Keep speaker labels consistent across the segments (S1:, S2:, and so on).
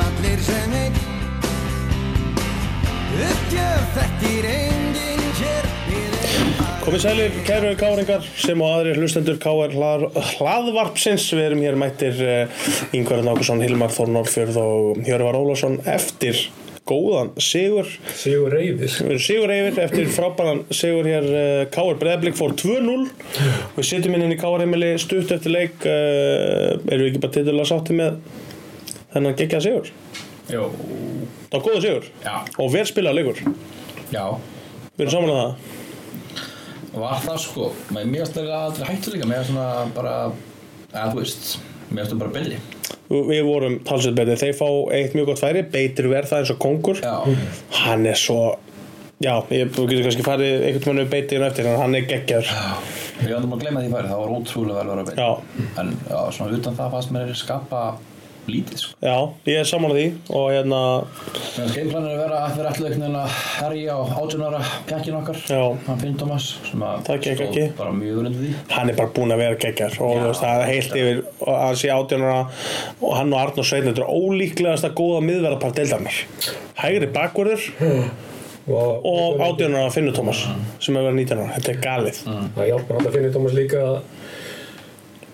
S1: sem einn Uppgjöf þekkir enginn hér Við erum
S2: Komið sælir, kæru káringar sem og aðrir hlustendur KR hlað, hlaðvarpsins Við erum hér mættir uh, Ingvarðin Ákusson, Hilmar Þór Norrfjörð og Hjörvar Ólafsson eftir góðan sigur
S3: Sigur reyðir
S2: Við erum sigur yfir eftir frábæran sigur hér uh, KR Breðblik fór 2-0 Við sitjum inn inn í KR heimili stutt eftir leik uh, Erum við ekki bara titulega sátti með þennan gekkja sigur?
S3: Jó
S2: Það var góða sigur
S3: Já.
S2: Og vel spilað leikur Við
S3: Já,
S2: erum saman að það
S3: var það sko Mér mér finnst það aldrei hættu líka Mér finnst svona bara eða þú veist Mér finnst það bara belli
S2: Við vorum talsveit betri, þeir fá eitt mjög gott færi, beitir verða eins og kongur
S3: Já,
S2: hann er svo já, ég, þú getur kannski farið einhvern veginn við beitið hann eftir, en hann er geggjör
S3: ég vandur bara að gleyma því færi Það var ótrúlega vel að vera belli
S2: Já.
S3: En já, svona utan það fannst mér er skapa lítið sko
S2: já, ég er saman á því og hérna,
S3: Mér finnst gameplan er að vera að vera allir einhvern veginn að herja á átjónara pjakkin okkar
S2: Já.
S3: Hann Finn Thomas Sem að
S2: Það gekk
S3: stóð
S2: ekki.
S3: Bara mjög undir því
S2: hann er bara búinn að vera geggjör og
S3: Já.
S2: þú veist, það er heilt yfir og að sé átjónara og hann og Arnur Sveinn þetta er ólíklegast að góða miðverðarpar deildarnar hægri bakvörður
S4: og,
S2: og átjónara að finna Thomas sem er verið 19 ára, þetta er galið
S3: Mm.
S4: það hjálpar alltaf að finna Thomas líka að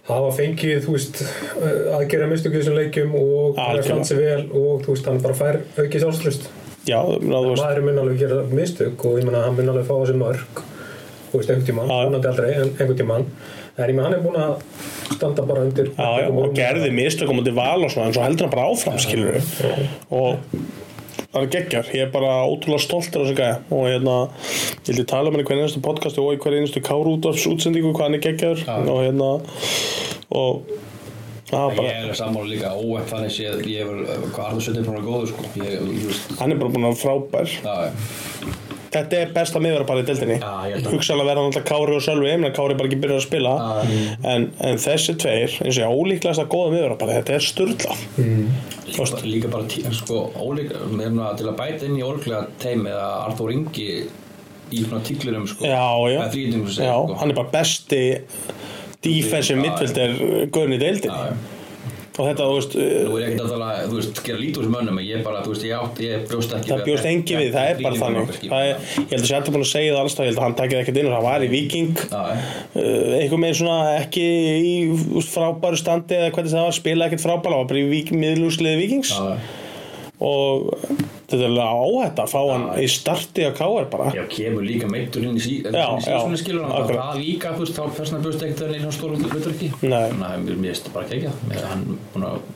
S4: hafa fengið þú veist, eh, að gera mistöku í þessum leikjum og hann
S2: Algjörlega.
S4: fann sér vel og þú veist, hann bara fær aukið sjálfströst
S2: já, ná, þú veist,
S4: maður mun alveg gera mistök og ég menna hann mun alveg fá þessi mörg þú veist, einhvern tímann,
S2: Já, já.
S4: vonandi aldrei en einhvern tímann, en ég menna hann er búin að standa bara undir
S2: já, já, og gerði mistökum út í val og svona, en svo heldur hann bara áfram skilur og það er geggjör, ég er bara ótrúlega stoltur á þessu gæja og hérna, ég vildi tala um hann í hverju einustu podcastu og í hverju einustu kárútvarps útsendingu hvað hann er geggjör og hérna og það var bara,
S3: Ég er sammála líka óepp þannig séð ég er hvað Arnur Sveinn er bara góður sko ég, ég, veist,
S2: hann er bara búin að vera frábær
S3: já, já.
S2: þetta er besta miðverðarpar í deildinni
S3: Já, ég held að.
S2: hugsaðlega verða alltaf Kári og Sölvi ég meina Kári er bara ekki byrjað að spila en, en þessi tveir, eins og ég ólíklegast að góða miðverðarpar, þetta er sturla
S3: Mm. Líka, bara- líka bara tí, sko, ólík, meðna, til að bæta inn í ólíklega teimið að Arthur Ingi í svona tíklurum sko.
S2: já, já,
S3: Eða þríhyrningnum sem segir,
S2: já
S3: sko.
S2: hann er bara besti defensive
S3: Já,
S2: midfielder guðin í deildinni
S3: Já, já.
S2: og þetta, þú veist eh,
S3: Nú er ég ekkert að tala, þú veist, gera lítur sem önnum en ég bara, þú veist, ég átt, ég brjóst ekki
S2: það bjóst engi við, það er bara þannig það er, ég held að sé alltaf búin að segja það alls staðar, ég held að hann takkið ekkert inn og það var í Viking uh, einhver meginn svona ekki í þú veist, frábæru standi eða hvernig það var, spila ekkert frábæra það var bara í vík, miðlúsliði Vikings
S3: Já,
S2: og þetta er alveg áhætt að fá hann í starti á KR bara
S3: já, kemur líka meittur inn í sí- inn í
S2: Já, já,
S3: síðan skilur hann
S2: akkurat.
S3: það líka, þú veist, þá persna bjóst ekkert þannig hann stóru hlutur ekki
S2: Nei.
S3: Þannig að mér mér finnst það bara ekki ekki Hann, búin að,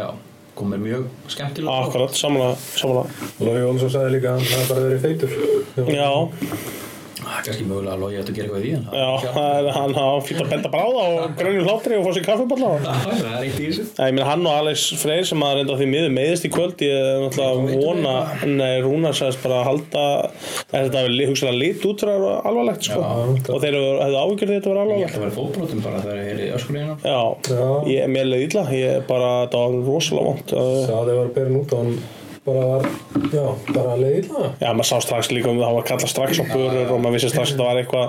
S3: já, komir mjög skemmtilega á.
S2: akkurat, samanlega, samanlega.
S4: Lói Jónsson sagði líka að hann hafði bara verið feitur
S2: já,
S3: Ah, Kannski mögulega að logi að gera eitthvað í því en það-
S2: Já, það er- hann hafa fyrir að benda bráða og grönjum hlátri og fá sér kaffiballa
S3: Það er eitt í þessu
S2: Nei, ég meina hann og Alex Freyr sem að reynda því miður meiðist í kvöld ég er náttúrulega að vona Nei, Rúnar sagðist bara að halda að þetta hafi hugsalega lit út fyrir að vera alvarlegt sko. og þeir eru- hefðu áhyggjur því að þetta var
S3: Ég
S2: alvarlegt
S3: ætla að vera fótbrotum bara þegar ég er í öskuleginu
S2: Já,
S4: Já.
S2: Ég, mér leið illa ég bara, þetta var rosalega vond
S4: það var berin út og hann bara var, já, bara leið illa
S2: Já, maður sá strax líka um það, það var kallað strax á börur og maður vissi strax að þetta var eitthvað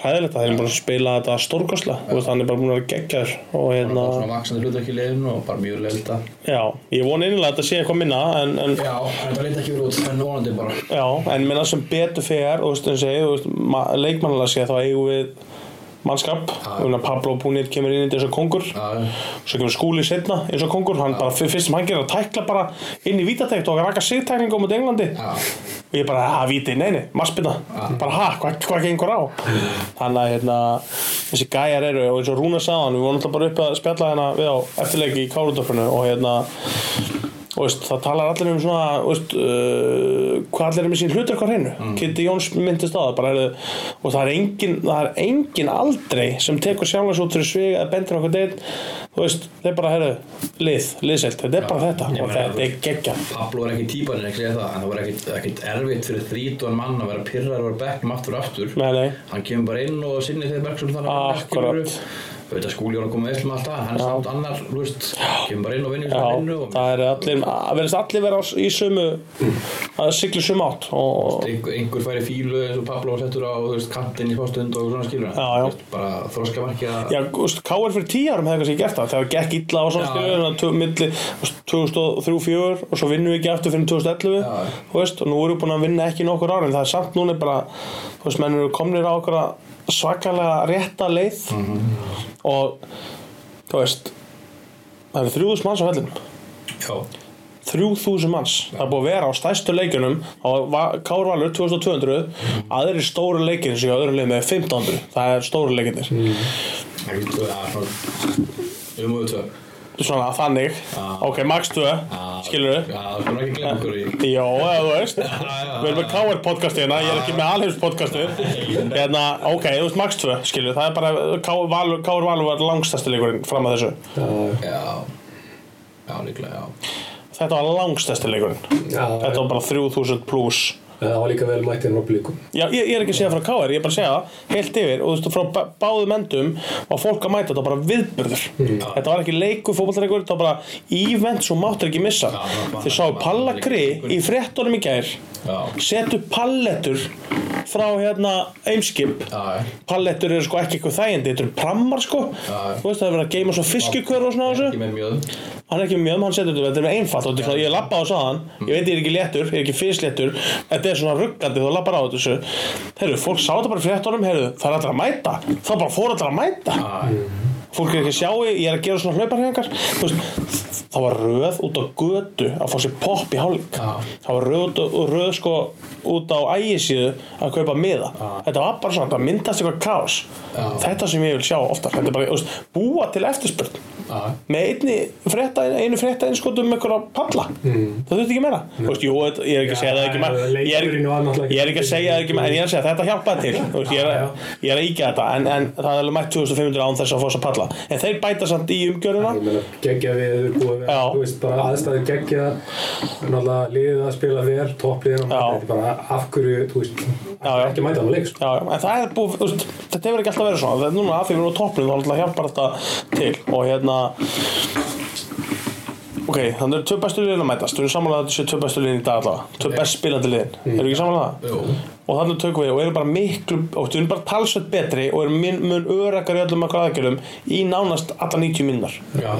S2: hræðilegt að þeir eru búin að spila þetta stórkoslega, Þú veist, hann er bara búin að vera geggjaður og hérna
S3: Svona vaksandi hlut ekki í leiðinu og bara mjög leilta
S2: Já, ég vona einlega að þetta sé eitthvað minna en, en,
S3: Já, en það leita ekki verið út En vonandi bara
S2: já, en minna sem betur fer og þú veist, eins og ég, þú veist, ma- leikmannalega sé þá eigum við mannskap og Pablo Púnir kemur inn í þessu kongur
S3: Já,
S2: svo kemur skúli setna eins og kongur hann bara, fyr- fyrst sem hann gerir að tækla bara inn í vítatækt og raka sigtækningu á mútið Englandi
S3: já,
S2: og ég bara, að víti, nei, nei, maspina
S3: Ah.
S2: bara, ha, hvað, hvað gengur á þannig að, hérna, þessi gæjar eru og eins og Rúna sagðan, við vorum alltaf bara upp að spjalla hérna við á eftirleiki í Kárundorfinu og hérna og veist, það talar allir um svona veist, uh, hvað allir er með sín hlutur hvað hreinu
S3: Mm.
S2: Kitty Jóns myndist á það bara, er, og það er, engin, það er engin aldrei sem tekur sjálfans út fyrir svig eða bendir okkur deitt þú veist, þeir bara, herru, lið, liðselt þetta er bara þetta
S3: Ég
S2: og
S3: meina,
S2: þetta er geggja
S3: Pablo er ekki típan en ekki segja það En það var ekkit, ekkit erfitt fyrir þrítuan mann að vera pyrrar og vera bekknum aftur og aftur
S2: Nei, nei.
S3: Hann kemur bara inn og sinni þegar verksum þannig að
S2: Akkurat.
S3: verkið eru. Þú veit að skúli var að koma veist með allt það en Hann er samt annar, þú veist Kemur bara inn og vinnur
S2: Já,
S3: vinnu og
S2: það er allir, að verðist allir vera á s- í sömu, að siglu sömu átt og
S3: einhver, einhver færi fílu eins og Pablo var settur á þú veist, kantinn í fástund og svona skilur
S2: Já, já.
S3: bara þroska markið að
S2: já, þú veist, K.R. fyrir tíu árum hefði kannski gert þetta þegar það gekk illa og svona
S3: Já.
S2: skilur þannig að tvö- milli 2003-2004 og svo vinnum við ekki aftur fyrir 2011
S3: Já.
S2: þú veist, og nú erum við búin að vinna ekki í nokkur ári en það er samt núna bara þú veist, menn eru komnir á okkur svakalega rétta leið
S3: Mhm.
S2: og þú veist það eru 3000 manns á hellinum
S3: Já,
S2: 3000 manns það er búið að vera á stærstu leikunum á Kárvalur 2200 aðri stóru leikir sem ég á öðrum leið með 1500 það er stóru leikinir
S3: Mm. það er svona um og tvö
S2: svona þannig
S3: Já.
S2: ok, max 2,
S3: Já,
S2: skilur
S3: Já, það er ekki glemma okkur í
S2: Jó, eða þú veist
S3: já.
S2: Við erum með KR podcastina, ég er ekki með alheims podcastin Hérna, ok, þú veist Max 2 skilur, það er bara, KR Valur, KR Valur var langstæsti leikurinn fram að þessu
S3: Já, já, líklega, já
S2: Þetta var langstæsti leikurinn
S4: Já,
S2: Þetta var bara 3000 pluss
S4: það var líka vel mættið frá blíkum.
S2: Já, ég, ég er ekki að segja frá KR, ég er bara að segja það heilt yfir, og þú veist, frá bá- báðum endum og fólk að mæta þetta var bara viðburður Þetta var ekki leiku fótboltareikur þetta var bara ívent sem máttur ekki missa
S3: Já, það var-
S2: Þið sáu Palla Kri í fréttunum í gær
S3: Já,
S2: setu pallettur frá hérna Eimskip
S3: já,
S2: pallettur eru sko ekki eitthvað þægindi þetta eru prammar sko
S3: Já.
S2: þú veist það er verið að geima svo fiskjukör og svona á
S3: ekki
S2: þessu
S3: með mjög
S2: hann er ekki með mjög hann setur þetta þetta er með einfalt og þetta er svona- ég lappa á þessu aðan ég veit ég er ekki léttur ég er ekki fisléttur þetta er svona ruggandi þú lappar á þessu herru fólk sá þetta bara í fréttunum herru það er allra að mæta þá bara fór allra að mæta
S3: Já,
S2: fólk er ekki að sjá ég er að gera svona hlauparhengar það var röð út á götu að fá sér popp í hálfleik
S3: Já.
S2: það var röð, út- röð sko út á ægisíðu að kaupa miða þetta var bara svona, það myndast eitthvað kaos
S3: Já.
S2: þetta sem ég vil sjá ofta þetta er bara, þú veist, búa til eftirspurn
S3: já,
S2: með einni frétta, einu frétta einskotum með einhverja palla
S4: Mm.
S2: það þurfti ekki meira Þú veist, jú, þetta- ég er ekki að segja það ekki meira ég er,
S4: leikurinn var náttúrulega ekki-
S2: ég er ekki að segja það ekki meira en ég er að segja þetta hjálpaði til Þú veist, ég, er,
S4: Já,
S2: að- ég er að íkja þetta en, en það er alveg mætt 2500 án þess að fá þess að palla en þeir bæta samt í umgjöruna
S4: Ég meina, geggja við hefur búið að vera,
S2: Já.
S4: þú veist, bara aðstæði geggja, náttúrulega liðið að spila vel, toppliðin og
S2: Já.
S4: þetta er bara af hverju, þú veist,
S2: já.
S4: ekki mæta á leik, sko.
S2: Já, já, en það er búið, þú veist, þetta hefur ekki alltaf verið svona Þegar núna að því við erum á toppnum þá alltaf hjálpar þetta til og hérna ok, þannig eru tvö bestu liðin að mætast við erum samanlega þetta séu tvö bestu liðin í dag allavega tvö best spilandi liðin,
S4: Mm.
S2: eru ekki samanlega það?
S3: Jú.
S2: og þannig tökum við og erum bara miklu og við erum bara talsveit betri og erum mun, mun örakar í öllum okkur aðgerðum í nánast alla 90 minnar
S3: já,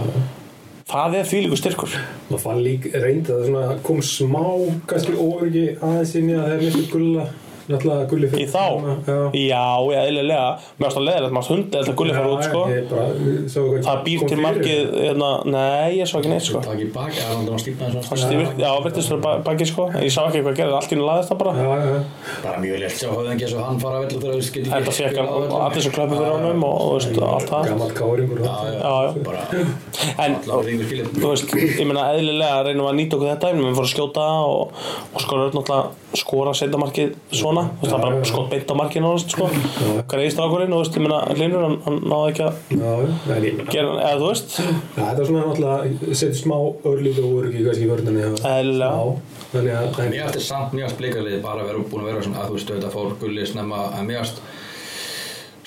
S2: það er þvílíku styrkur
S4: maður fann líka reyndi að það svona kom smá kannski óöryggi aðeins inn í að þeir mistu gulla náttúrulega gulli
S2: í þá,
S4: já,
S2: já, já eðlilega mér varst að leðilegt, mér varst hundið þetta gulli fara út sko
S4: ég bara, svo,
S2: það býr til markið, hérna, nei ég svo ekki neitt sko
S3: takk í bak, það er hann að stípa þess
S2: Fannst ég virkt- Já, virtist fyrir baki sko Ég sá ekki hvað gerði, allt í hún laðist það bara
S4: já, já,
S3: bara mjög létt sjá höfðingi eins og hann fara vellu þegar við skilja
S2: Þetta fekk hann og allir sem klöppu fyrir honum og, og veist, allt það
S4: gammal káringur já,
S2: Já, já,
S3: bara
S2: en
S3: allar reyngur skilja
S2: þú veist, ég meina eðlilega reynum við að nýta okkur þetta en við fórum að skjóta og, og skora öll náttúrulega skora setja markið svona þú veist, það bara skot beint á markið náttúrulega sko greiðist ákvarinn og þú veist, ég meina Hlynur, hann, hann náði ekki að
S4: já, já, en ég meina,
S2: gera eða þú veist,
S4: já, þetta er svona náttúrulega setur smá örlítið óöryggi kannski í vörðinni
S2: eðlilega
S4: þannig að en-
S3: mér aftur samt mjögast blikarlið bara vera búin að vera svona að þú veist auðvitað fór gulli snemma að mjögast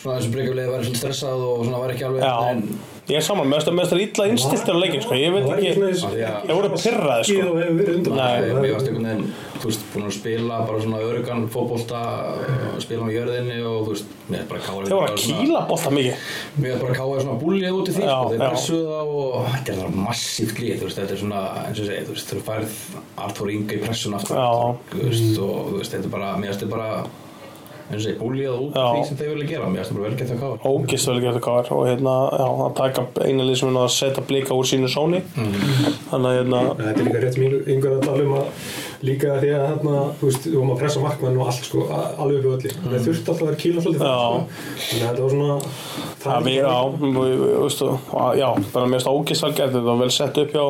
S3: svona þessu blikarlið var svona stressað og svona var ekki alveg en
S2: Já, ég er saman, mér finnst það illa innstiltir á leikin sko, ég veit
S4: það var
S2: ekki
S4: svona
S3: Já, já.
S2: Ég voru pirraði, sko.
S4: Skýð og hefur verið undan
S2: Nei.
S3: Mér varst einhvern veginn, þú veist, búin að spila bara svona örugan fótbolta, uh, spila á jörðinni og þú veist, mér er bara káður
S2: Þeir voru að kýla bolta mikið
S3: Mér er bara káður svona búlið út í því,
S2: Já,
S3: sko, þeir
S2: já.
S3: pressuðu það og þetta er það massíft gríð, þú veist, þetta er svona, eins og ég segi, þú veist, þú færð Arthur Inga í pressun aftur,
S2: Já.
S3: þú veist, og þú veist, þetta er bara, mér finnst þetta bara, eins og ég segi, búlið út í
S2: Já.
S3: því sem þeir vilja gera, mér finnst þetta bara vel gett að káður.
S2: ógist vel gert KR og hérna, já, að taka eina lið sem er náð að setja blika úr sínu sóni þannig að hérna,
S4: Nei, Þetta er líka rétt mjög yngur að tala um að líka því að þarna, þú veist, við vorum að pressa markmann og allt sko, a- alveg upp í öllu. Mm. Það þurfti alltaf að kýla svolítið
S2: Já.
S4: það, sko. Þannig að þetta var svona...
S2: að við, já, við, við, veistu, að, já, bara mér finnst það ógist vel gert þetta var vel sett upp hjá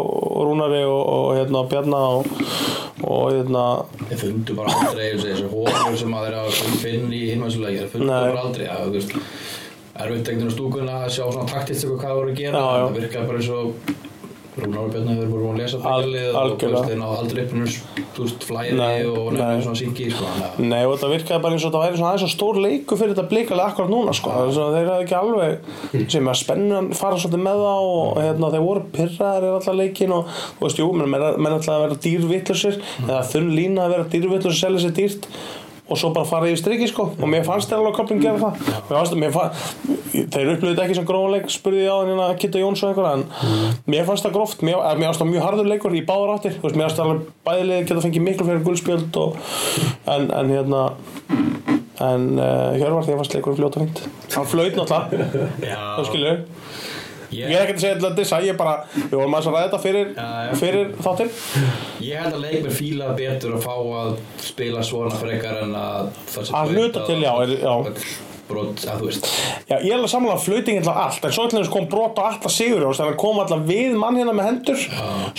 S2: Rúnari og, og hérna, Bjarna og, og hérna,
S3: Þeir fundu bara aldrei þessi, þessi hóður sem að þeir eru að finna í hinvæmsulega þeir fundu
S2: Nei.
S3: bara aldrei að, þú veist erfitt einhvern veginn á stúkunna að sjá svona taktist eitthvað hvað það voru að gera
S2: Já, já.
S3: það virkaði bara eins og Rúnar og Björn hefur voru að lesa
S2: Al-
S3: byggalið og þú
S2: algjörlega.
S3: veist þeir náðu aldrei upp hennur stúst
S2: Nei,
S3: flæði og
S2: nei.
S3: nefnir svona syngi sko, þannig að-
S2: nei, og þetta virkaði bara eins og þetta væri svona aðeins og stór leiku fyrir þetta blikalega akkurat núna, sko, það er svona, þeir hefði ekki alveg sem að spennan fara svolítið með það og hérna, þeir voru pyrraðir í alltaf leikin og, þú veist, jú, menn menn- menn ætlaði að vera dýrvillusir, eða þunn lína að vera dýrvillusir, selja sér dýrt og svo bara fara yfir striki sko og mér fannst þeir alveg köpum gera það
S3: Mm.
S2: mér fannst, mér fannst, þeir upplöfðu þetta ekki sem gróðanleik spurði ég hérna á hann að Kitta Jóns og einhverja en
S3: Mm.
S2: mér fannst það gróft, mér, eh, mér fannst það mjög harður leikur í báðar áttir, þú veist, mér fannst það alveg bæðilega geta fengið miklu fyrir guldspjöld og, en, en hérna en uh, Hjörvar því að fannst leikur fljóta fengt hann flöyt náttúrulega, þú
S3: Já,
S2: skilur ég er
S3: ég,
S2: ekkert að segja til að dissa, ég er bara við vorum aðeins að ræða þetta fyrir,
S3: Já, já.
S2: fyrir þáttir
S3: ég held að leikmenn fíla betur að fá að spila svona frekar en að það sé
S2: Að
S3: blautt
S2: hluta
S3: að-
S2: til, já, er- já.
S3: öll brot, að þú veist
S2: Já, ég er alveg samlega að flauting alltaf allt en svo ætlum við kom brot á alla sigur þannig að hann kom alltaf við mann hérna með hendur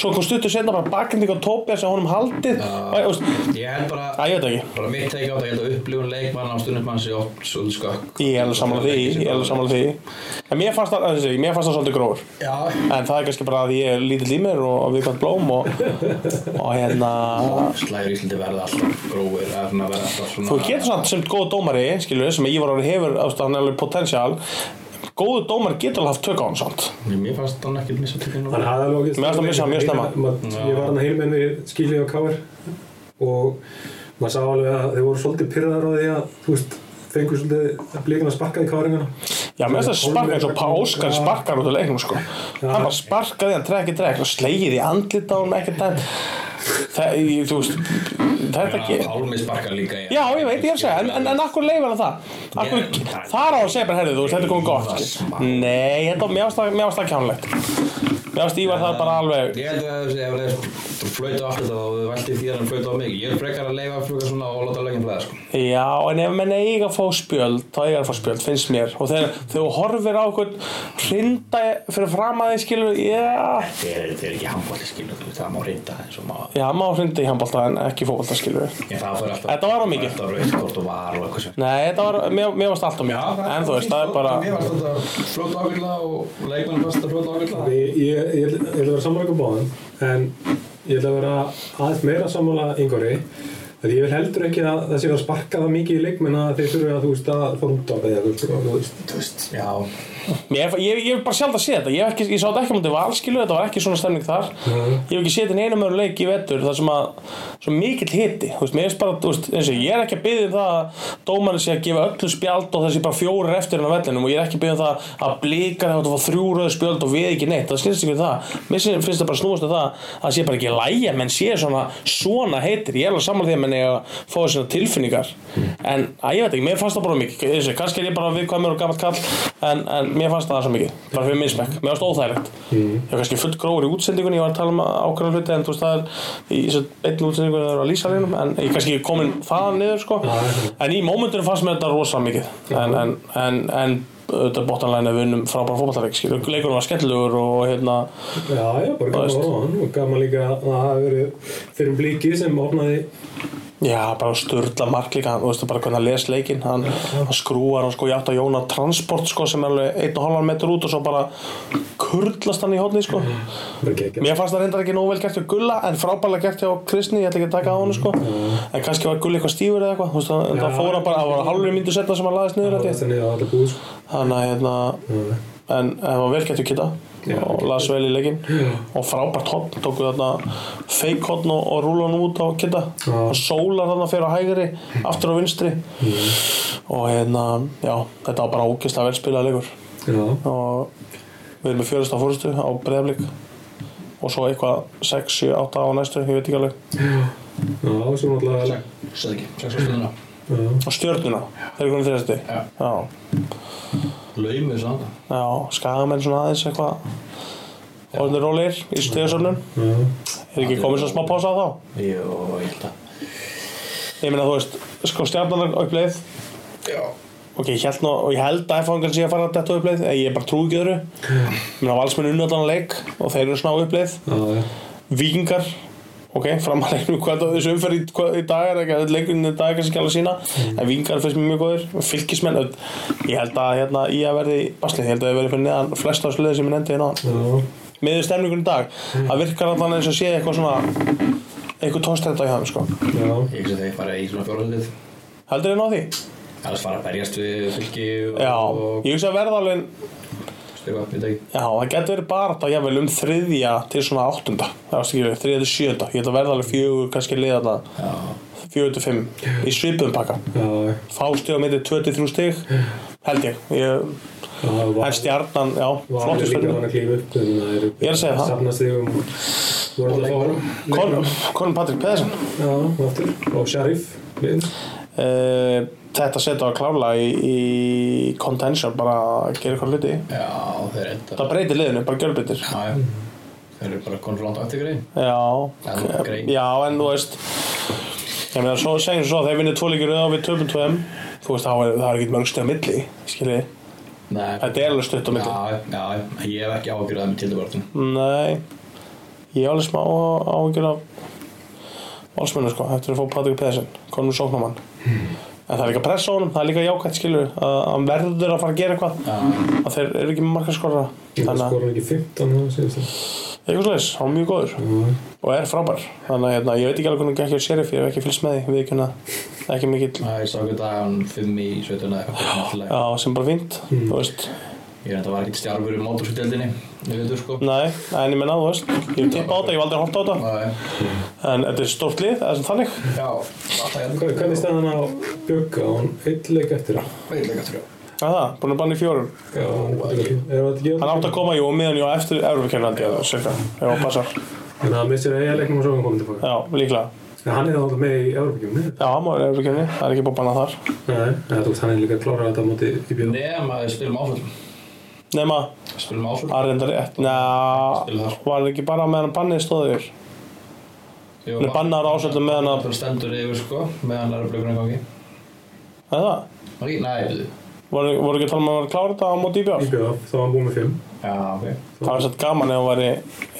S2: svo kom stuttur setna bara bakending á Tóbia sem honum haldið og, og, og,
S3: Ég held bara
S2: að, ég veit ekki
S3: bara mitt teik á þetta, ég held að upplifun leikmann á stundum hans í oft svolítið skökk
S2: ég er alveg samlega því, ég er alveg samlega því en mér fannst það, þessi, mér fannst það svolítið gróður
S3: Já,
S2: en það er kannski bara að ég er lítill í mér og, og viðkvæmt blóm og, og hérna
S3: slæður Íslandi verða alltaf gróir eða svona verða alltaf svona
S2: þú getur samt sem góð dómari skilur sem Ívar Ári hefur, ástu, hann er alveg potensial góðu dómar getur alveg haft tök á hann samt
S3: Mér fannst hann ekkert missa tökinn
S4: Hann hafði alveg ágætt
S2: Mér fannst hann missa hann mjög snemma.
S4: Ég var hann að heilmenn við skilið á káir og maður sá alveg að þeir voru svolítið pyrraðar á því að þú veist, fengur svolítið að blíkina sparkaði káringana
S2: Já, mér finnst það sparka eins og Pá Óskar sparkar út af leiknum sko Hann bara sparkaði, hann trekk í trekk og slegið í andlit á hann ekkert en það, ég- þú veist, það er ekki
S3: Pálmi sparkar líka í-
S2: Já, ég veit, ég er að segja, en, en, en akkur leifir hann það? Akkur, þar á að segja bara, herrið, þú veist, þetta er komið gott Nei, þetta, mér finnst það- mér finnst það kjánlegt Mér finnst Ívar það bara alveg
S3: Ég held að þessi- ef það er flöytu á allt þetta og þau vælti því að hann flöytu á mig Ég er frekar að leifa að fluga svona og láta lögin flæða sko
S2: Já, en ef menn eiga að fá spjöld, þá eiga að fá spjöld, finnst mér Og þegar þegar þú horfir á okkur hrinda fyrir fram að þið skilur, já
S3: Þeir eru þeir eru ekki handbóli skilu, þú veist, það má reynda eins og má
S2: Já, má hrinda í handbólta en ekki fótbolta skilur við
S3: En það fyrir alltaf
S2: Þetta var of mikið.
S3: Þetta var raukt hvort og var og eitthvað sem
S2: Nei, þetta var, mér, mér varst alltaf mjög En þú veist, það er
S3: Mér
S2: bara
S3: varst þetta fljótt ákveðla og leikmenn fannst þetta fljótt ákveðla
S4: Ég ég- ég ætla ég ætla að vera sammála ykkur báðum en ég ætla að vera aðeins meira sammála yngori að ég vil heldur ekki að það sé að sparka það mikið í leikmenn að þeir þurfi að þú veist að fór út á beðja þú veist
S3: Þú veist, já
S2: mér, Ég ég hef bara sjálf að sé þetta Ég, hef ekki, ég sá þetta ekki mútið valskilu, þetta var ekki svona stemning þar Ég hef ekki séð þetta í neinum öru leik í vetur þar sem að, svo mikill hiti Þú veist, mér er bara, þú veist, eins og ég er ekki að biðja um það að dómarinn sé að gefa öllu spjald og þessi bara fjórir eftir hann á vellinum og ég er ekki að biðja um það að blíkar hefur að fá þrjú röðu spjöld og við ekki neitt það skilst ekki við það, mér sé- finnst það bara snúast um það að það sé bara ekki lægja, menn sé svona svona heitir, ég er alveg saman því að menn ég að fá svona tilfinningar en að ég veit ekki, mér fannst það bara mikið Ég sé, kannski er ég bara viðkvæmur og gammalt kall en, en mér fannst það svo mikið, bara fyrir minnsmekk mér fannst óþægilegt, ég var kannski full gróður í útsendingunni, ég var að tala um ákveðan hluti en þú veist það er í þessu einn útsendingunni það er á lýsarinum, en ég kannski komin þaðan niður sko, en í mómentunum fannst mér þetta rosa mikið en, en, en, en auðvitað bóttanlegin að við unnum frábæra fótballtarleik skilur, leikurinn var skemmtilegur og hérna
S4: Já, já, bara gaman
S2: veist.
S4: að horfa á hann og gaman líka að það hafi verið fyrir um blíki sem opnaði
S2: Já, bara störla mark líka, hann- þú veist bara hvernig hann les leikinn, hann, hann skrúar hann sko í átt að Jóna Transport sko sem er alveg einn og halvan metur út og svo bara kurlast hann í hóðni sko.
S4: bara gegja.
S2: Mér fannst það reyndar ekki nóg vel gert hjá Gulla en frábærlega gert hjá Kristni, ég ætla ekki að taka á hann sko. En kannski var Gulli eitthvað stífur eða eitthvað, þú veist það, en það
S4: Mhm. Já.
S2: fór hann bara, það var hálfur myndu setna sem hann laðist niður
S4: Það
S2: held
S4: var
S2: ég.
S4: þannig að það er búið sko.
S2: Þannig að hérna, en það var vel gert hjá Kitta
S4: Já,
S2: og laðist vel í leikinn og frábært hotn, tóku þarna fake hotn og, og rúla hann út á Kitta
S4: Já.
S2: og sólar þarna fyrir á hægri, aftur á vinstri og hérna, já, þetta var bara ógeðslega vel spilað leikur
S4: Já,
S2: og við erum með fjörðasta fórstu á breyðablík og svo eitthvað 6, 7, 8 á næstu, ég veit ekki alveg
S4: já, svo náttúrulega
S3: Sæð ekki, sex á stundina
S4: já,
S2: og stjörnuna, þeir eru konum þrjastið
S3: Já.
S2: já,
S3: Laumið saman
S2: já, skagamenn svona aðeins eitthvað orðinir rólegir í stegasörnum
S4: já,
S2: er ekki komið svo smá pása á þá
S3: Jó, ég held að
S2: ég meina þú veist, sko stjarnan uppleið
S3: Já
S2: ok, ég held, nú, og ég held að F-fangan sé að fara að detta á uppleið, en ég bara trúi ekki öðru ég meina valsmenn unnöldan leik og þeir eru svona á uppleið
S4: já, já.
S2: vikingar ok, framalegnum hvað það þessu umferð í, hvað, í dag er ekki, leikunni í dag er kannski ekki alveg sína en vikingar finnst mér mjög góðir fylgismenn, öll- ég held að hérna, ég að verði baslið, ég held að það verði fyrir neðan flest af sluðið sem ég nefndi hérna áðan.
S4: já.
S2: miður stemningun í dag, það virkar allan eins og sé eitthvað svona eitthvað tónstenda í hann, sko
S4: já.
S3: Ég hugsa þegar ég fara í svona fjórhaldið
S2: heldur þið ná því?
S3: Alls fara að berjast við fylki og,
S2: Já,
S3: og
S2: ég hugsa að verðalinn
S3: styrir upp í dag
S2: Já, það getur verið barata jafnvel um þriðja til svona áttunda Það varst ekki verið, þriðja til sjönda Ég held að verða alveg fjögur, kannski liða þarna
S3: Já
S2: 4-5 í svipum pakka
S4: Já,
S2: fá stig á myndi 23 stig held ég, ég
S4: já, var-
S2: en stjarnan, já,
S4: var
S2: flottu
S4: alveg líka
S2: stjarnan
S4: hann að klífa upp en það eru
S2: Ég er að segja það.
S4: safnast þig um voru það fá
S2: Conor Patrick Pedersen
S4: já, aftur, og Sharif við,
S2: uh, þetta setja á klála í, í contention bara að gera eitthvað hluti
S3: Já, þeir enda
S2: það breytir liðinu, bara gjörbyttir
S3: Já, já. Þeir eru bara konur langt aftur greið
S2: Já,
S3: En grein.
S2: já, en þú veist Ég meina, svo segjum svo að þeir vinnir tvo líkir og við töpum tveim Þú veist, þá er, það er ekki mörg stöð á milli Skilji,
S3: Nei
S2: þetta er alveg stutt á milli
S3: Já, já, ég hef ekki ágjörð það með tildabartum
S2: Nei Ég er alveg smá áhyggjur af Valsmennu, sko, eftir að fá Patrik Pedersen Konum sóknumann
S3: Hmm.
S2: En það er líka pressa á honum, það er líka jákvæmt, skilju að að hann verður að fara að gera eitthvað
S3: Já, sko,
S2: að þeir eru ekki með markaskorra
S4: það
S2: Þannig að,
S4: skora ekki 15 núna síðast já,
S2: eitthvað slags, hann er mjög góður og er frábær Þannig að hérna, ég veit ekki alveg hvernig ekki á sheriff, ég hef ekki fylgst með því Við ekki, ekki mikill
S3: Já, ég sá hvernig dag hann fimm í 17 eða eitthvað náttúrulega.
S2: Já, sem bara fínt, þú veist
S3: Ég er enda var ekkert stjárfur í mótorskjöldinni Ég veit þú sko
S2: Nei, en ég menna, þú veist Ég tippa á þetta, ég hef aldrei horft á þetta
S3: Nei.
S2: En þetta er stórt lið, það er sem þannig
S3: Já, alltaf ég
S4: Hvað- hvernig staðan á Bjögga á hann eitt leik eftir já,
S3: Veitlega trjó
S2: Það er það, búin að banna í fjórum
S4: hann er ekki- er það ekki
S2: Hann átt að koma, jú, miðan, jú, eftir Evropakernandi eða cirka, ef það passar
S4: en það missir eiga leiknum og svo hann komið tilbaka
S2: Já, líklega
S4: en hann er alltaf með í Európa-kjumni
S2: Já, hann var Evropakerni, það er ekki búin að banna þar
S4: Nei, eða þú veist, hann er líka klárað þetta á móti í bjóð.
S3: Nema, við spilum áföllum
S2: Nema,
S3: Við Spilum áföllum
S2: það er enda rétt Ná, var það ekki bara meðan bannið stóði yfir
S3: Jú,
S2: Hann er bannar ásöldum meðan að
S3: Áföll stendur yfir sko Meðan það eru blökunum gangi
S2: Það er það,
S3: Var ekki? Nei, við
S2: voru, voru ekki að tala um að vera klára þetta á móti í
S4: Í
S2: bjóð
S4: bjóð, þá var hann búið með fimm.
S3: Já, ok
S2: Það var satt gaman ef hann væri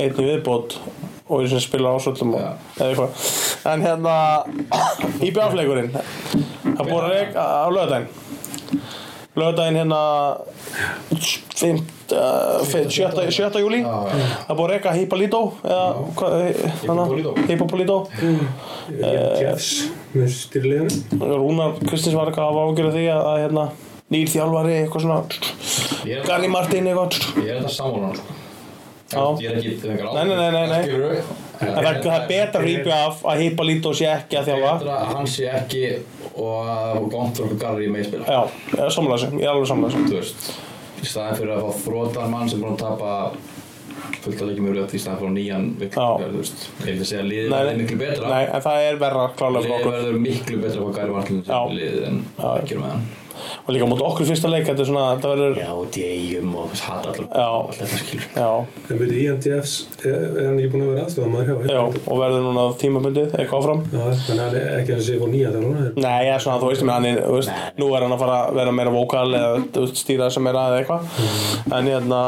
S2: einn í viðbót og ég sem spila ásöldum og
S3: Já.
S2: eða eitthvað. En hérna, IBF-leikurinn, það búið að reyka á lögadaginn. Lögadaginn hérna 5, uh, 7, 7. júli,
S3: Já,
S2: það
S3: já
S2: búið að reyka Hippolito, eða hvað, eh,
S3: Hippopolito.
S2: Hippolito.
S3: Mm.
S2: Eh.
S4: Jeffs, með styrliðinu.
S2: Rúnar Kristins var eitthvað að ágjöra því að, að hérna, nýr þjálfari, eitthvað svona,
S3: Ég er-
S2: Garri Martin eitthvað.
S3: Ég er þetta sammála hann sko
S2: Já.
S3: Ég er ekki eitthvað einhver
S2: Nei, nei, nei, nei, nei.
S3: Skilurðu?
S2: En það, er- það er betra að rýpa af að Hippolito sé ekki að þjálfa.
S3: Betra að hann sé ekki og að Gontur og Garri með spila
S2: Já, ég er sammála þessu, ég er alveg sammála þessu
S3: þú veist í staðan fyrir að fá þrótar mann sem búin að tapa fullt að leikjum yfir öll í staðan fyrir að fá nýjan
S2: Já.
S3: virkilega, þú veist, ég vil segja að liðið verður miklu betra
S2: nei, en það er verra klálega fyrir
S3: liðið
S2: okkur
S3: verður miklu betra hvað Gary Martin
S2: Já.
S3: sem liðið en ekki með hann
S2: Og líka mútið okkur í fyrsta leik, þetta er svona, þetta verður
S3: já, degum og hata allar
S2: Já.
S3: allt þetta skilur
S2: Já,
S4: En veitu, Ian Jeffs, er er hann ekki búinn að vera aðstofað maður hjá?
S2: já, og verður núna tímabundið, eitthvað áfram
S4: Já, en hann er ekki að sé fór nýja þegar hún er.
S2: Nei, ég er svona, þú veist, menn, hann er, þú veist, nú er hann að fara að vera meira vókal eða þú veist, stýra þessu meira eða eitthvað En hérna,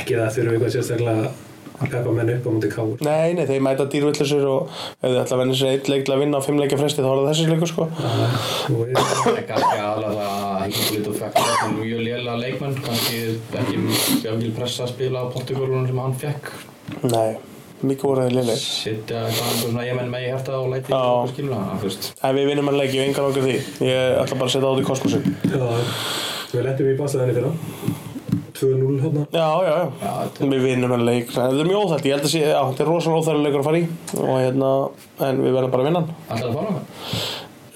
S4: Ekki það þurfum eitthvað sérstaklega að peppa menn upp á móti káur.
S2: nei, nei, þeir mæta dýrvillisir og ef þið ætla að venni sér eitt leik til að vinna á fimm leikja fresti þá er það þessi leikur, sko
S4: Og er það
S3: það er kannski aðalega það að hengum lítið og fekk þetta mjög lélega leikmenn kannski ekki mjög pressa að spila á Portugalunum sem hann fekk
S2: Nei, mikið voruðið liðleik
S3: sitja eitthvað einhver svona ég menn með í hérta og læti
S2: Já.
S3: og skilur hann, þú veist
S2: En við vinnum hann leik, ég hef engan okkur því Ég ætla bara að setja á því kosmosin
S4: Við lettum í baslaðinni fyrir hann. 2-0 hérna.
S2: Já, já, já
S3: já, þetta
S2: Við vinnum hann leik, þetta er mjög óþægt, ég held að sé, já, þetta er rosalega óþægt leikur að fara í og hérna, en við verðum bara að vinna hann.
S3: er alltaf að fara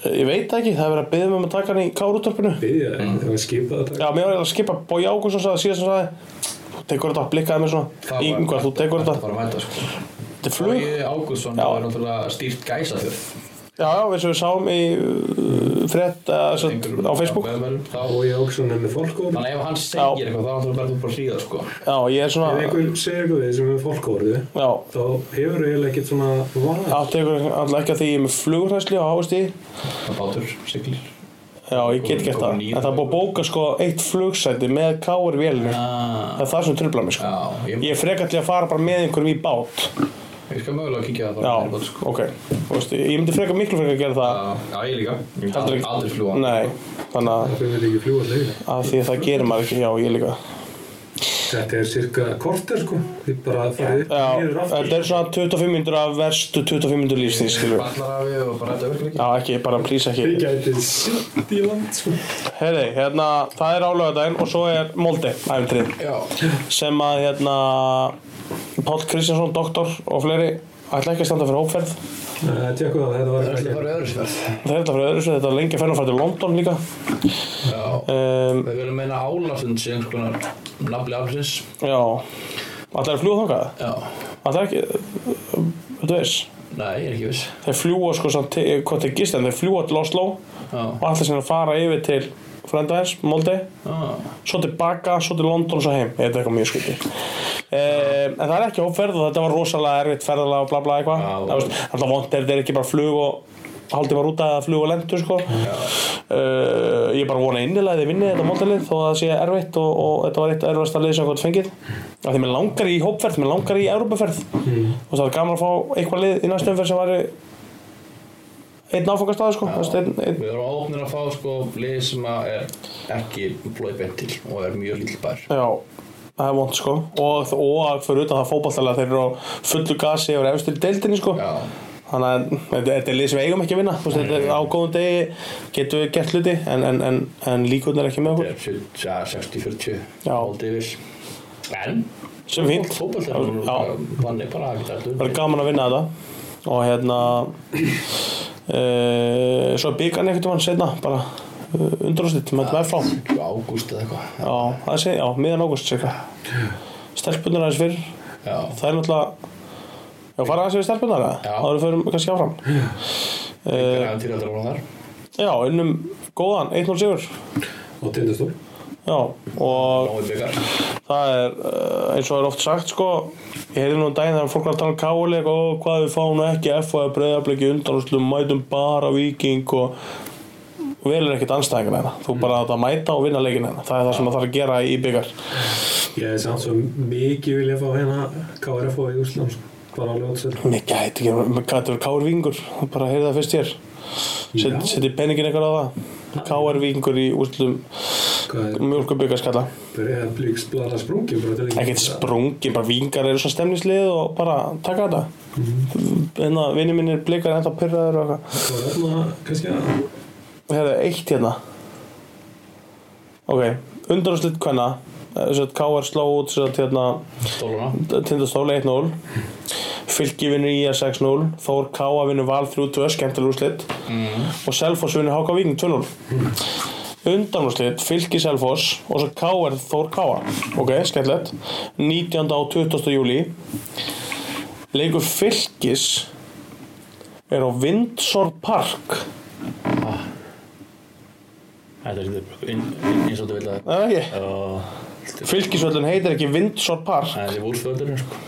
S2: Ég veit það ekki, það er verið að byggja um að taka hann í kárúttorpinu.
S4: Byggja, það var skipað að
S2: Mm. Já,
S4: taka.
S2: mér var eiginlega að skipa Bói Ágússon sagði, síðast sem sagði, þú tekur þetta, blikkaði mér svona,
S3: Það var-
S2: yngvar, þú tekur
S3: Þetta
S2: þetta,
S3: var að mæta sko
S2: þetta er flug.
S3: Flói Ágússon
S2: Já.
S3: var náttúrulega stýrt gæsa þau
S2: Já, já, eins og við sáum í uh, frétt uh, satt, á Facebook.
S4: Og ég áksun er með fólkór.
S3: Þannig að ef hann segir eitthvað þá er náttúrulega verður bara að hlýða sko
S2: Já, ég er
S4: Ef
S2: svona,
S4: einhver segir eitthvað við sem er með fólkórið,
S2: já,
S4: þá hefur eiginlega ekkert svona vanað.
S2: allt tekur alltaf ekki að því ég er með flugræsli á hásti.
S3: Það bátur, siglir
S2: Já, ég get gert það, en það er búið að bóka sko eitt flugsæti með káir vélinu. Það
S3: Já,
S2: er það sem trublar mig sko.
S3: ég,
S2: Ég er frekar til að fara bara með einhverjum í bát
S3: ég skal mögulega kíkja það
S2: Já,
S3: bara með bát, sko.
S2: ok Þú veist, Ég myndi frekar miklu frekar að gera það
S3: Já, Já, ég líka Ég myndi
S2: Heldur
S3: aldrei,
S2: ekki-
S3: aldrei fljúa
S2: Nei, þannig að,
S4: Það fyrir ekki fljúa leiðina.
S2: að því að það gerir maður ekki Já, ég líka
S4: Þetta er cirka korter sko, þið bara farið upp
S2: Já,
S4: niður aftur.
S2: Þetta er svona 25 minnur af verstu 25 minnur lífstíð skilur við.
S3: Ballar af við og bara þetta virkilega
S2: Já, ekki, bara plís
S4: Þið
S2: ekki
S4: gætið sitt í land sko.
S2: Heyri, hérna, það er álögadaginn og svo er Molde, æfintrið
S3: Já,
S2: sem að hérna Páll Kristjánsson, doktor og fleiri ætla ekki að standa fyrir hópferð
S4: Tjekku það, Eh, þetta var
S3: Það er
S4: ekki
S3: bara öðru sverð
S2: það er þetta fyrir öðru svo þetta var lengi ferðin að fara til London líka
S3: Já
S2: um,
S3: Við viljum meina Álasund sé einhvers konar nafli aflsins
S2: já ætla að fljúa þangað
S3: Já
S2: ætla ekki þú veist
S3: Nei, ég er ekki viss
S2: þeir fljúa sko samt til- hvað þeir gist en þeir fljúa til Oslo
S3: Já
S2: og ætla sér að fara yfir til frenda þess, Molde
S3: Já
S2: svo tilbaka, svo til London og svo heim þetta er eitthvað mjög skuti um, en það er ekki hópferð og þetta var rosalega erfitt ferðalega og bla bla eitthvað
S3: Já.
S2: Það veist, alltaf vond er þetta ekki bara flug og haldið var út að flug og lendu sko. uh, ég bara vona innilega að þið vinni þetta mótalið þó að það sé erfitt og, og þetta var eitt erfasta lið sem gott fengið af því mér langar í hópferð, mér langar í Európaferð og það er gaman að fá eitthvað lið í næstum fyrir sem var einn áfangastæði sko. Þú veist, einn, einn,
S3: Við erum ópnir að fá sko lið sem að er ekki blóið beint til og er mjög lítill bær
S2: Já, það er vond sko og, og fyrir utan það fótballtalega þeir eru á fullu gasi yfir efstir deildinni sko
S3: Já
S2: þannig að þetta- þetta er lið sem við eigum ekki að vinna Þú veist, þetta er á góðum degi getum við gert hluti en, en, en, en líkurnar ekki með
S3: Þetta
S2: okkur
S3: er 70, ja, 60-40
S2: Já.
S3: Aldrei viss En
S2: sem fínt,
S3: Fótbolt er nú
S2: Já.
S3: bara Þannig bara ekki
S2: það er
S3: alltaf
S2: gaman að vinna þetta og hérna e, svo er byggan einhvern tímann setna bara e, undrústitt, mættum við frá
S3: Ágúst eða eitthvað
S2: Já, það sé, já, miðan águst stelpunar aðeins fyrr
S3: Já
S2: það er náttúrulega Já, fara aðeins við stelpunar það?
S3: Já.
S2: Það eru fyrir kannski áfram. Eh,
S3: Það er aðeins til að drána þar
S2: Já, unnum góðan, 1-0 sigur.
S4: Og tindastól
S2: Já, og
S3: Nóið byggar
S2: það er eh, eins og er oft sagt sko, ég heyrði nú um daginn þegar fólk var að tala um káuleik og hvað við fáum nú ekki F og E breyðabliki undanúslum, mætum bara viking og og vel er ekkert anstæðingar hérna, þú bara átt að mæta og vinna leikin hérna, það er það sem það þarf að gera í byggar.
S4: Ég hef samt svo mikið vilja fá hérna KRF og í Úsland Bara alveg átt sér
S2: Mér gæti ekki, mér gæti verið káur vingur, bara heyrði það fyrst hér,
S4: Já.
S2: Set, seti peningin eitthvað á það, káur vingur í úslum
S4: Hvað er
S2: mjölkubyggarskalla.
S4: Breiðablíks blada sprungin bara til
S2: ekkert sprungi, bara vingar eru svona stemnislið og bara taka þetta hérna, vinni mínir blikar ennþá pyrraður og eitthvað
S4: Það var Sko, þarna kannski að
S2: og hérna, eitt hérna ok, undarúslit hvenna K.R. sló út sem sagt, hérna,
S3: Stóluna
S2: tindastóli 1-0 Fylki vinnur í 6-0 Þór Káa vinnur Val 3-2 skemmtileg úrslit og Selfoss vinnur Háka Víking 2-0 undanúrslit, Fylki Selfoss og svo Káar Þór Káa ok, skemmtilegt 19. á 20. júli leikur Fylkis er á Windsor Park
S3: Þetta er svolítið inn- inn- eins og þú vil að
S2: er það ekki?
S3: Það
S2: Fylkisvöllin heitir ekki Windsor Park
S3: er vúlföldurinn sko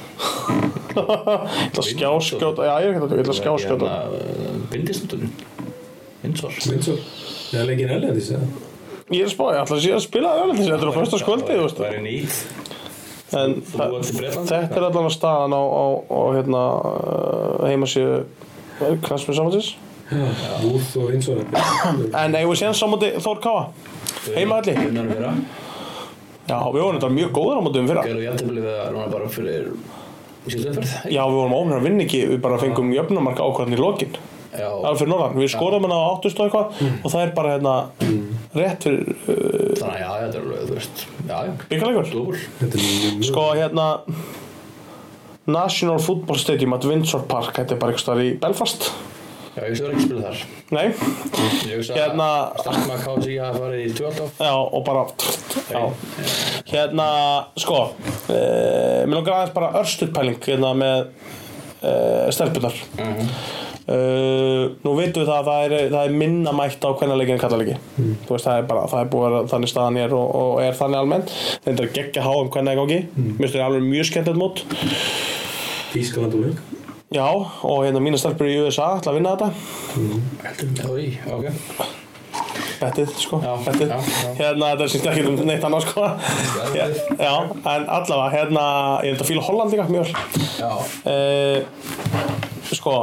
S2: ég ætla að skjáskjóta já, ég er hérna- ekki að taka, ég ætla að skjáskjóta
S3: hérna, uh, Bindistundurinn Vinsvar
S4: Vinsól Það er leikinn erlendis eða?
S2: ég er að spá, ég ætla að sé að spila það þetta er á fyrsta skvöldi, þú veist
S3: Það er nýtt
S2: En
S3: Þú
S2: þa-
S3: ert í Bretlandi?
S2: þetta er allavega staðan á, á, á hérna, uh, eh, heimasíðu knastmið samvætis
S4: Já Úrþ og Vinsól
S2: En eigum við séðan samvæti Þór Káa Heimahalli
S3: Það er vera
S2: Já, við vorum þetta mjög góður á mótum fyrra
S3: Gerðu jættabli við að núna bara fyrir Sýttu umferð
S2: Já, við vorum ónir að vinna ekki Við bara fengum jöfnumarka ákvæðan í lokin
S3: Já Mm.
S2: Alveg fyrir norðan, við skorum hérna á áttust og eitthvað Og það er bara hérna rétt fyrir uh,
S3: Þannig að já, þetta er alveg, þú veist Já, já
S2: byggarleikur
S3: Dúbul
S4: Þetta er mjög mjög
S2: Sko hérna National Football Stadium at Windsor Park Þetta er bara eitthvað í Belfast
S3: Já, ég veist að vera ekki að spila þar
S2: Nei,
S3: Ég veist að
S2: Hérna-
S3: Starkma KC að farið í 12
S2: já, og bara Já, Hérna, sko uh, Mér langar aðeins bara örstuð pæling hérna með uh, stelpunar
S3: Mhm.
S2: uh, Nú veitum við það að það er, það er minna mætt á hvernaleiki en kallaleiki Þú veist, það er bara, það er búið að vera þannig staðan er og, og er þannig almennt Þetta er geggja háum hvernig gangi Mér finnst þetta alveg mjög skemmtilegt mót
S4: Þískaland og mjög
S2: Já, og hérna mína stelpur í USA ætla að vinna þetta
S3: Heldur í, ok
S2: Bettið, sko,
S3: Já,
S2: bettið
S3: já, já.
S2: Hérna, þetta er sýnt ekki um neitt annað, sko Já, já, en allavega, hérna Ég held að fíla Holland líka, mjög vel
S3: Já
S2: uh, Sko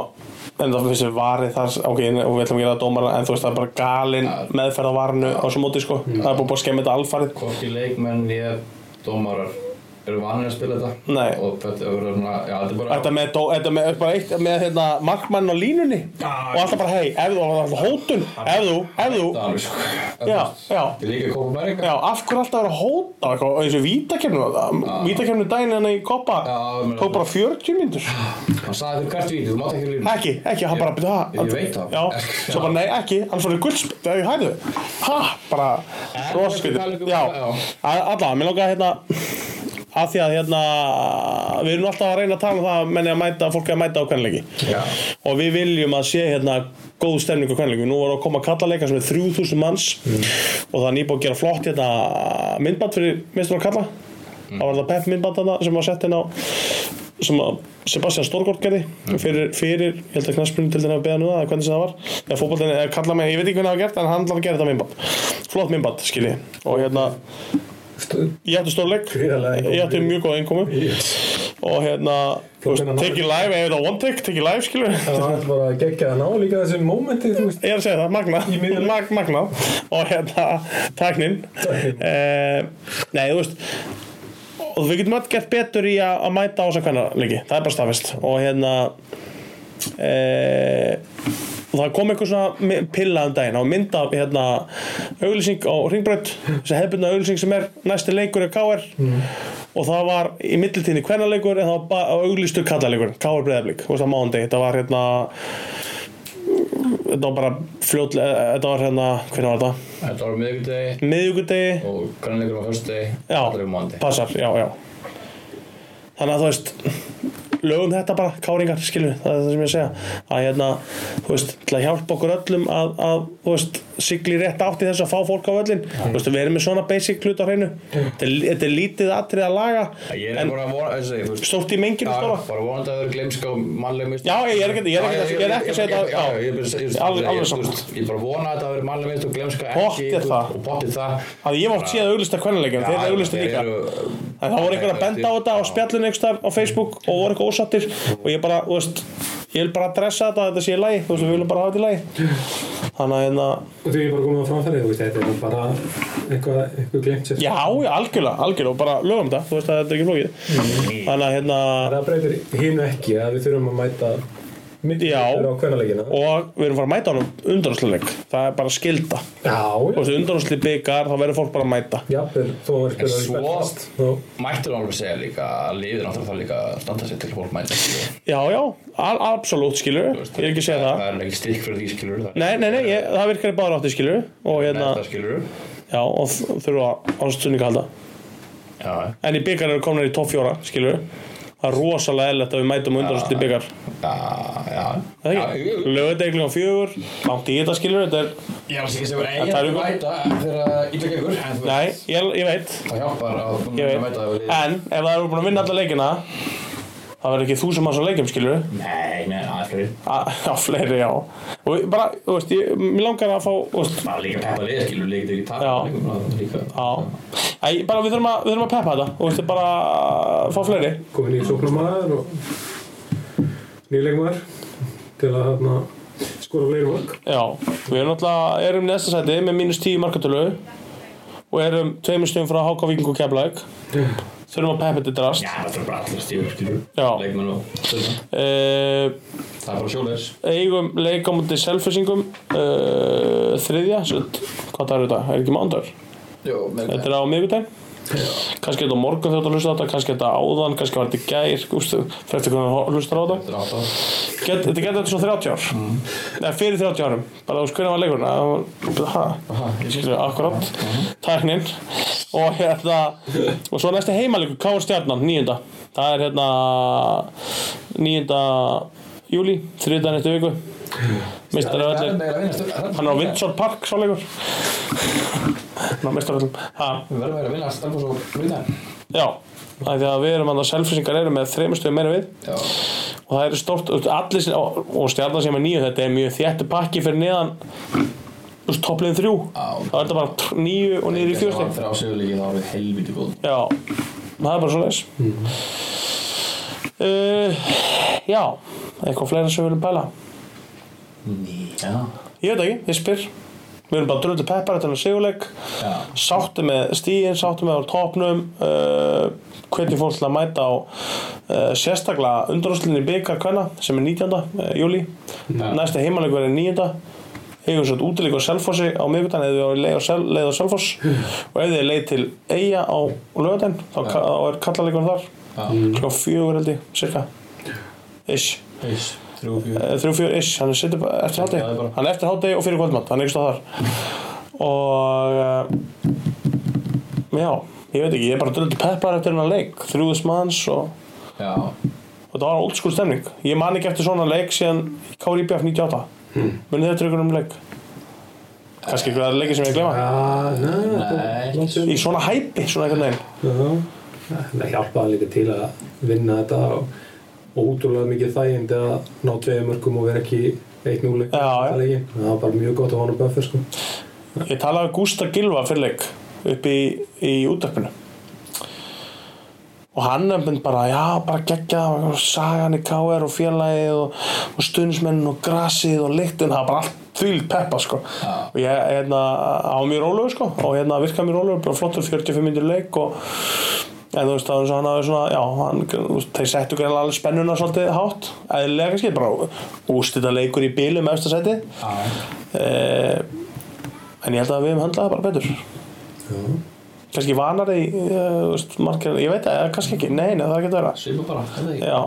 S2: En það finnst við varið þar Ok, og við ætlum að gera það dómara En þú veist, það er bara galin meðferð
S3: Mm.
S2: á varinu á svo móti, sko Það er búið bara að skemmi þetta alfarið
S3: Hvorki leikmenn, ég, dómarar eru vanir að spila þetta
S2: Nei.
S3: og þetta er bara svona, já, þetta er bara
S2: Þetta með, dó, þetta með, bara eitt, með hérna, markmann á línunni
S3: Já.
S2: og alltaf bara hei, ef þú, og alltaf hótun ef þú, ef þú
S3: Það er alveg sko
S2: Já, já.
S3: Ég líka að koma með
S2: Já, af hverju alltaf að vera að hóta á eitthvað, eins og vítakefnum vítakefnum daginn hann í koppa
S3: Já, ég meina-
S2: tók bara 40 myndur
S3: Hann sagði fyrir hvert víti, þú mátt ekki línu
S2: ekki, ekki, hann
S3: Ég-
S2: bara byrja
S3: ég veit það.
S2: já,
S3: Ekki-
S2: svo bara nei, ekki, hann fór í guldspil það er hæðu, ha, bara
S3: En-
S2: roskvítið, já,
S3: um Já.
S2: Að- allavega, mér langaði hérna að því að hérna við erum alltaf að reyna að tala um það að menni að mæta fólki að mæta á kvenleiki
S3: Já,
S2: og við viljum að sé hérna góð stemning og kvenleikum, nú voru að koma kallaleika sem er 3000 manns og það er nýbúið að gera flott hérna myndband fyrir mistur að kalla það var það Pep myndband þarna sem var sett inn á sem að Sebastian Storgård gerði fyrir, fyrir, ég held að knarspunni til þennan að beða nú um það, eða hvernig sem það var eða fótbollin, eða kalla mig, ég veit ekki hvernig það var gert en hann ætlaði að gera þetta myndband, flott myndband skilji og hérna, ég átti stórleik
S4: Gríðarlega innkomu.
S2: ég átti mjög góð einkomu og hérna, þú veist,
S4: Flottina nálægt.
S2: take it live eða one take, take it live skilju
S4: Það var alltaf bara að gegja að ná líka þessu mómenti, þú veist.
S2: Ég er að segja það, magna,
S4: Í miðjunni.
S2: mag, magna og hérna tæknin
S4: Tæknin.
S2: eh, Nei, þú veist og við getum öll gert betur í að, að mæta á þess að hvernig leiki, það er bara staðfest og hérna eh, og það kom einhver svona mi- pilla um daginn á mynd af hérna auglýsing á Ringbraut þessi hefbundna auglýsing sem er næsti leikur er KR
S4: Mm.
S2: og það var í mittiltíðinni hvernaleikur en það var auglýstur kallaleikur KR Breiðablík, þú veist það mándi þetta var hérna þetta var bara fljótlega þetta var hérna, hvernig var þetta?
S3: þetta var miðvikudegi
S2: miðjúkudegi,
S3: og grannleikur var fyrstudegi
S2: já,
S3: Allir um mándi
S2: passar já, já þannig að þú veist lögum þetta bara, káringar, skilju það er það sem ég er að segja að hérna, þú veist, til að hjálpa okkur öllum að, að þú veist, sigli rétt átt í þess að fá fólk á öllin þú veist, við erum með svona basic hlut á hreinu þetta er, þetta er lítið atrið að laga
S3: Ég er
S2: en
S3: bara að vona, þessi, þú veist
S2: stórt í menginu
S3: Já,
S2: stóra
S3: bara vonandi að það eru gleimska og mannleg mistök
S2: Já, ég er ekki- ég er ekki- ég er ekki að segja þetta-
S3: Já,
S2: já.
S3: ég er bara að segja- ég-
S2: Alveg-
S3: ég-
S2: alveg
S3: ég-
S2: saman.
S3: þú veist, Ég er bara að vona að það eru mannleg mistök og gleimska ekki
S2: Pott er
S3: þú-
S2: það.
S3: Og pottir það
S2: að ég mátt séð auglista kvennilegjum, þeir eru auglista
S3: þeir
S2: líka
S3: eru-
S2: En það voru einhver að benda á þetta Mm. á spjallinu einhvers þar á Facebook og voru eitthvað ósattir og ég bara, þú veist, ég vil bara dressa þetta að þetta sé í lagi, þú veist, við viljum bara hafa þetta í lagi Þannig að hérna,
S4: Og því ég er bara komið á framfæri, þú veist, þetta er bara eitthvað, eitthvað glemt sér.
S2: já, já, algjörlega, algjörlega og bara lögum þetta, þú veist að þetta er ekki flókið Þannig að hérna,
S4: Það breytir hínu ekki að við þurfum að mæta
S2: Já.
S4: mittvítur á kvennalegina.
S2: og við erum fara að mæta honum undanúrsluleik, það er bara skilda Þú
S4: Já, já.
S2: veist, undanúrsli byggar, þá verður fólk bara að mæta
S4: Jafnvel, þó að
S3: En
S4: vera spilað
S3: svo-
S4: Svo...
S3: Mættur alveg að segja líka að liðir náttúrulega það líka að standa sér til að fólk mæta skilur.
S2: Já, já, al absolutt, skilur, ég er ekki að segja það
S3: Það er ekki stikk fyrir því skilur það.
S2: Nei, nei, nei, ég, það virkar í báðar átti, skilur og hérna,
S3: Næsta skilur
S2: já, og þ- þurfa ástunninga halda
S3: Já,
S2: En í byggar eru komnir í topp fjóra, skilur Það er rosalega eðlilegt að við mætum undanúrslit í byggar
S3: já, já.
S2: Það er
S3: Já, jú,
S2: ekki?
S3: jú.
S2: Lögadegling á fjögur, langt í þetta skilur Þetta er,
S3: Ég er alls ekki sem er
S2: En það
S3: eigin að
S2: eru-
S3: mæta þegar ítla gengur. en þú veist,
S2: nei, ég, ég veit
S3: Það hjálpar að þú
S2: Ég
S3: mæta
S2: veit,
S3: mæta að liðið.
S2: en ef það eru búin að vinna alla leikina Það verður ekki þúsum hans á leikjum skilur
S3: Nei, nei, það er fyrir.
S2: Já, fleiri, já Og ég bara, þú veist, ég, mér langar að fá þú veist,
S3: Bara líka peppa liðið skilur, líka ekki
S2: Já.
S3: tapa líka. það er líka.
S2: Já, Æ, bara við þurfum að, við þurfum að peppa þetta Þú veist, ég bara fá fleiri
S4: komin í sóknarmaður og nýleikmaður til að hérna, skora fleiri mörg
S2: Já, við erum náttúrulega, erum í næsta sæti með mínus 10 markatölu og erum tveimur stöðum frá HK Víking og Keflæk Þurfum að peppa þetta drast
S3: Já, það er bara allir stífur skilur.
S2: Já.
S3: Leikmenn og stjórn.
S2: uh,
S3: Það er bara sjóleis.
S2: eigum leik á mútið selfisingum uh, þriðja sund, hvað það er þetta, er ekki mándar
S3: Jó, með
S2: þetta er á miðvikudaginn kannski er þetta á morgun þegar þú hlustar á þetta kannski er þetta áðan, kannski var þetta í gær ústu, fyrir eftir hvernig þú hlustar á þetta
S3: Þetta er alltaf.
S2: Get, þetta getur þetta svona 30 ár eða fyrir 30 árum, bara þú veist hvernig var leikurinn Það var- ha, skilur, akkurat tæknin og hérna, og svo næsti heimalegur Káur Stjarnan, nýjunda það er hérna nýjunda júli, þriðdagen eftir viku mistar af
S3: Það er
S2: öllir
S3: meira að vinna stjórn.
S2: hann er á Windsor Park svo leikur ná, mistar öllum ha,
S3: Við verðum meira að vinna stjórn og vinna.
S2: já, það er því að við erum að selfisingar eru með þreymur stöðum meira en við
S3: Já.
S2: og það eru stórt þú veist, allir sem, og, og stjarnan sem er nýju þetta er mjög þjættu pakki fyrir neðan þú veist, toppliðin þrjú
S3: Á.
S2: þá er þetta bara tr- níu og niður í fjórsti
S3: Það var þrjásöguleiki, það var við helviti góð.
S2: já, það er bara svo leis
S3: Mhm.
S2: já eitthvað fleira sem við viljum pæla
S3: Já.
S2: ég veit ekki, ég spyr við erum bara dröldu peppar þetta er siguleik
S3: Já.
S2: sáttu með stíin, sáttu með á topnum uh, hvetjum fólk til að mæta á uh, sérstaklega undanúslinni byggar kvenna sem er 19. Uh, júli
S3: Já.
S2: næsti heimalegur er 9. Eigum svo útileik á Selfossi á miðvikudan eða við erum leið á Selfoss og ef þið er leið til Eyja á lögadaginn þá, ka- þá er kallalegur þar
S3: Já,
S2: klokka fjögur held ég, cirka ish,
S3: eins, þrjú, fjör
S2: Eh, þrjú fjögur ish hann er sittur bara eftir
S3: Já, það er
S2: hátegi
S3: bara-
S2: hann er eftir hátegi og fyrir kvöldmatt, hann er ekki stóð þar og eh, já, ég veit ekki ég er bara dröldi peppar eftir hennar leik þrjúðis manns og,
S3: Já,
S2: og það var old school stemning ég man ekki eftir svona leik síðan Kári IBF 98 hmm. munið þetta ykkur um leik kannski ykkur aðra leiki sem ég glema
S4: Já, næ,
S3: Nei.
S2: í svona hæpi, svona einhvern veginn
S4: Það hjálpaði líka til að vinna þetta og, og útrúlega mikið þægind að ná tveið mörgum og vera ekki 1-0
S2: Já, já.
S4: Það leikinn. Það var bara mjög gott að vona Buffer sko.
S2: ég talaði við Gústa Gilva fyrir leik upp í, í útdarpinu og hann nefnd bara, já, bara geggja og sagan í KR og félagið og, og stundismennin og grasið og lyktin, það var bara allt þvíl peppa sko.
S3: Já.
S2: og ég, hérna, á mjög rólegur sko, og hérna virkaði mjög rólegur bara flottur 45 minnir leik og en þú veist, það var eins og hann hafði svona já, hann, þú veist, þeir settu greinlega alveg spennuna svolítið hátt, eðlilega kannski, bara ústita leikur í bílum eftir sæti
S3: já,
S2: eh, en ég held að við höfum höndlaði bara betur kannski vanar í eh, veist, margir, ég veit það, kannski ekki, nei, nei það getur vera
S3: svipa bara, það er ekki
S2: já,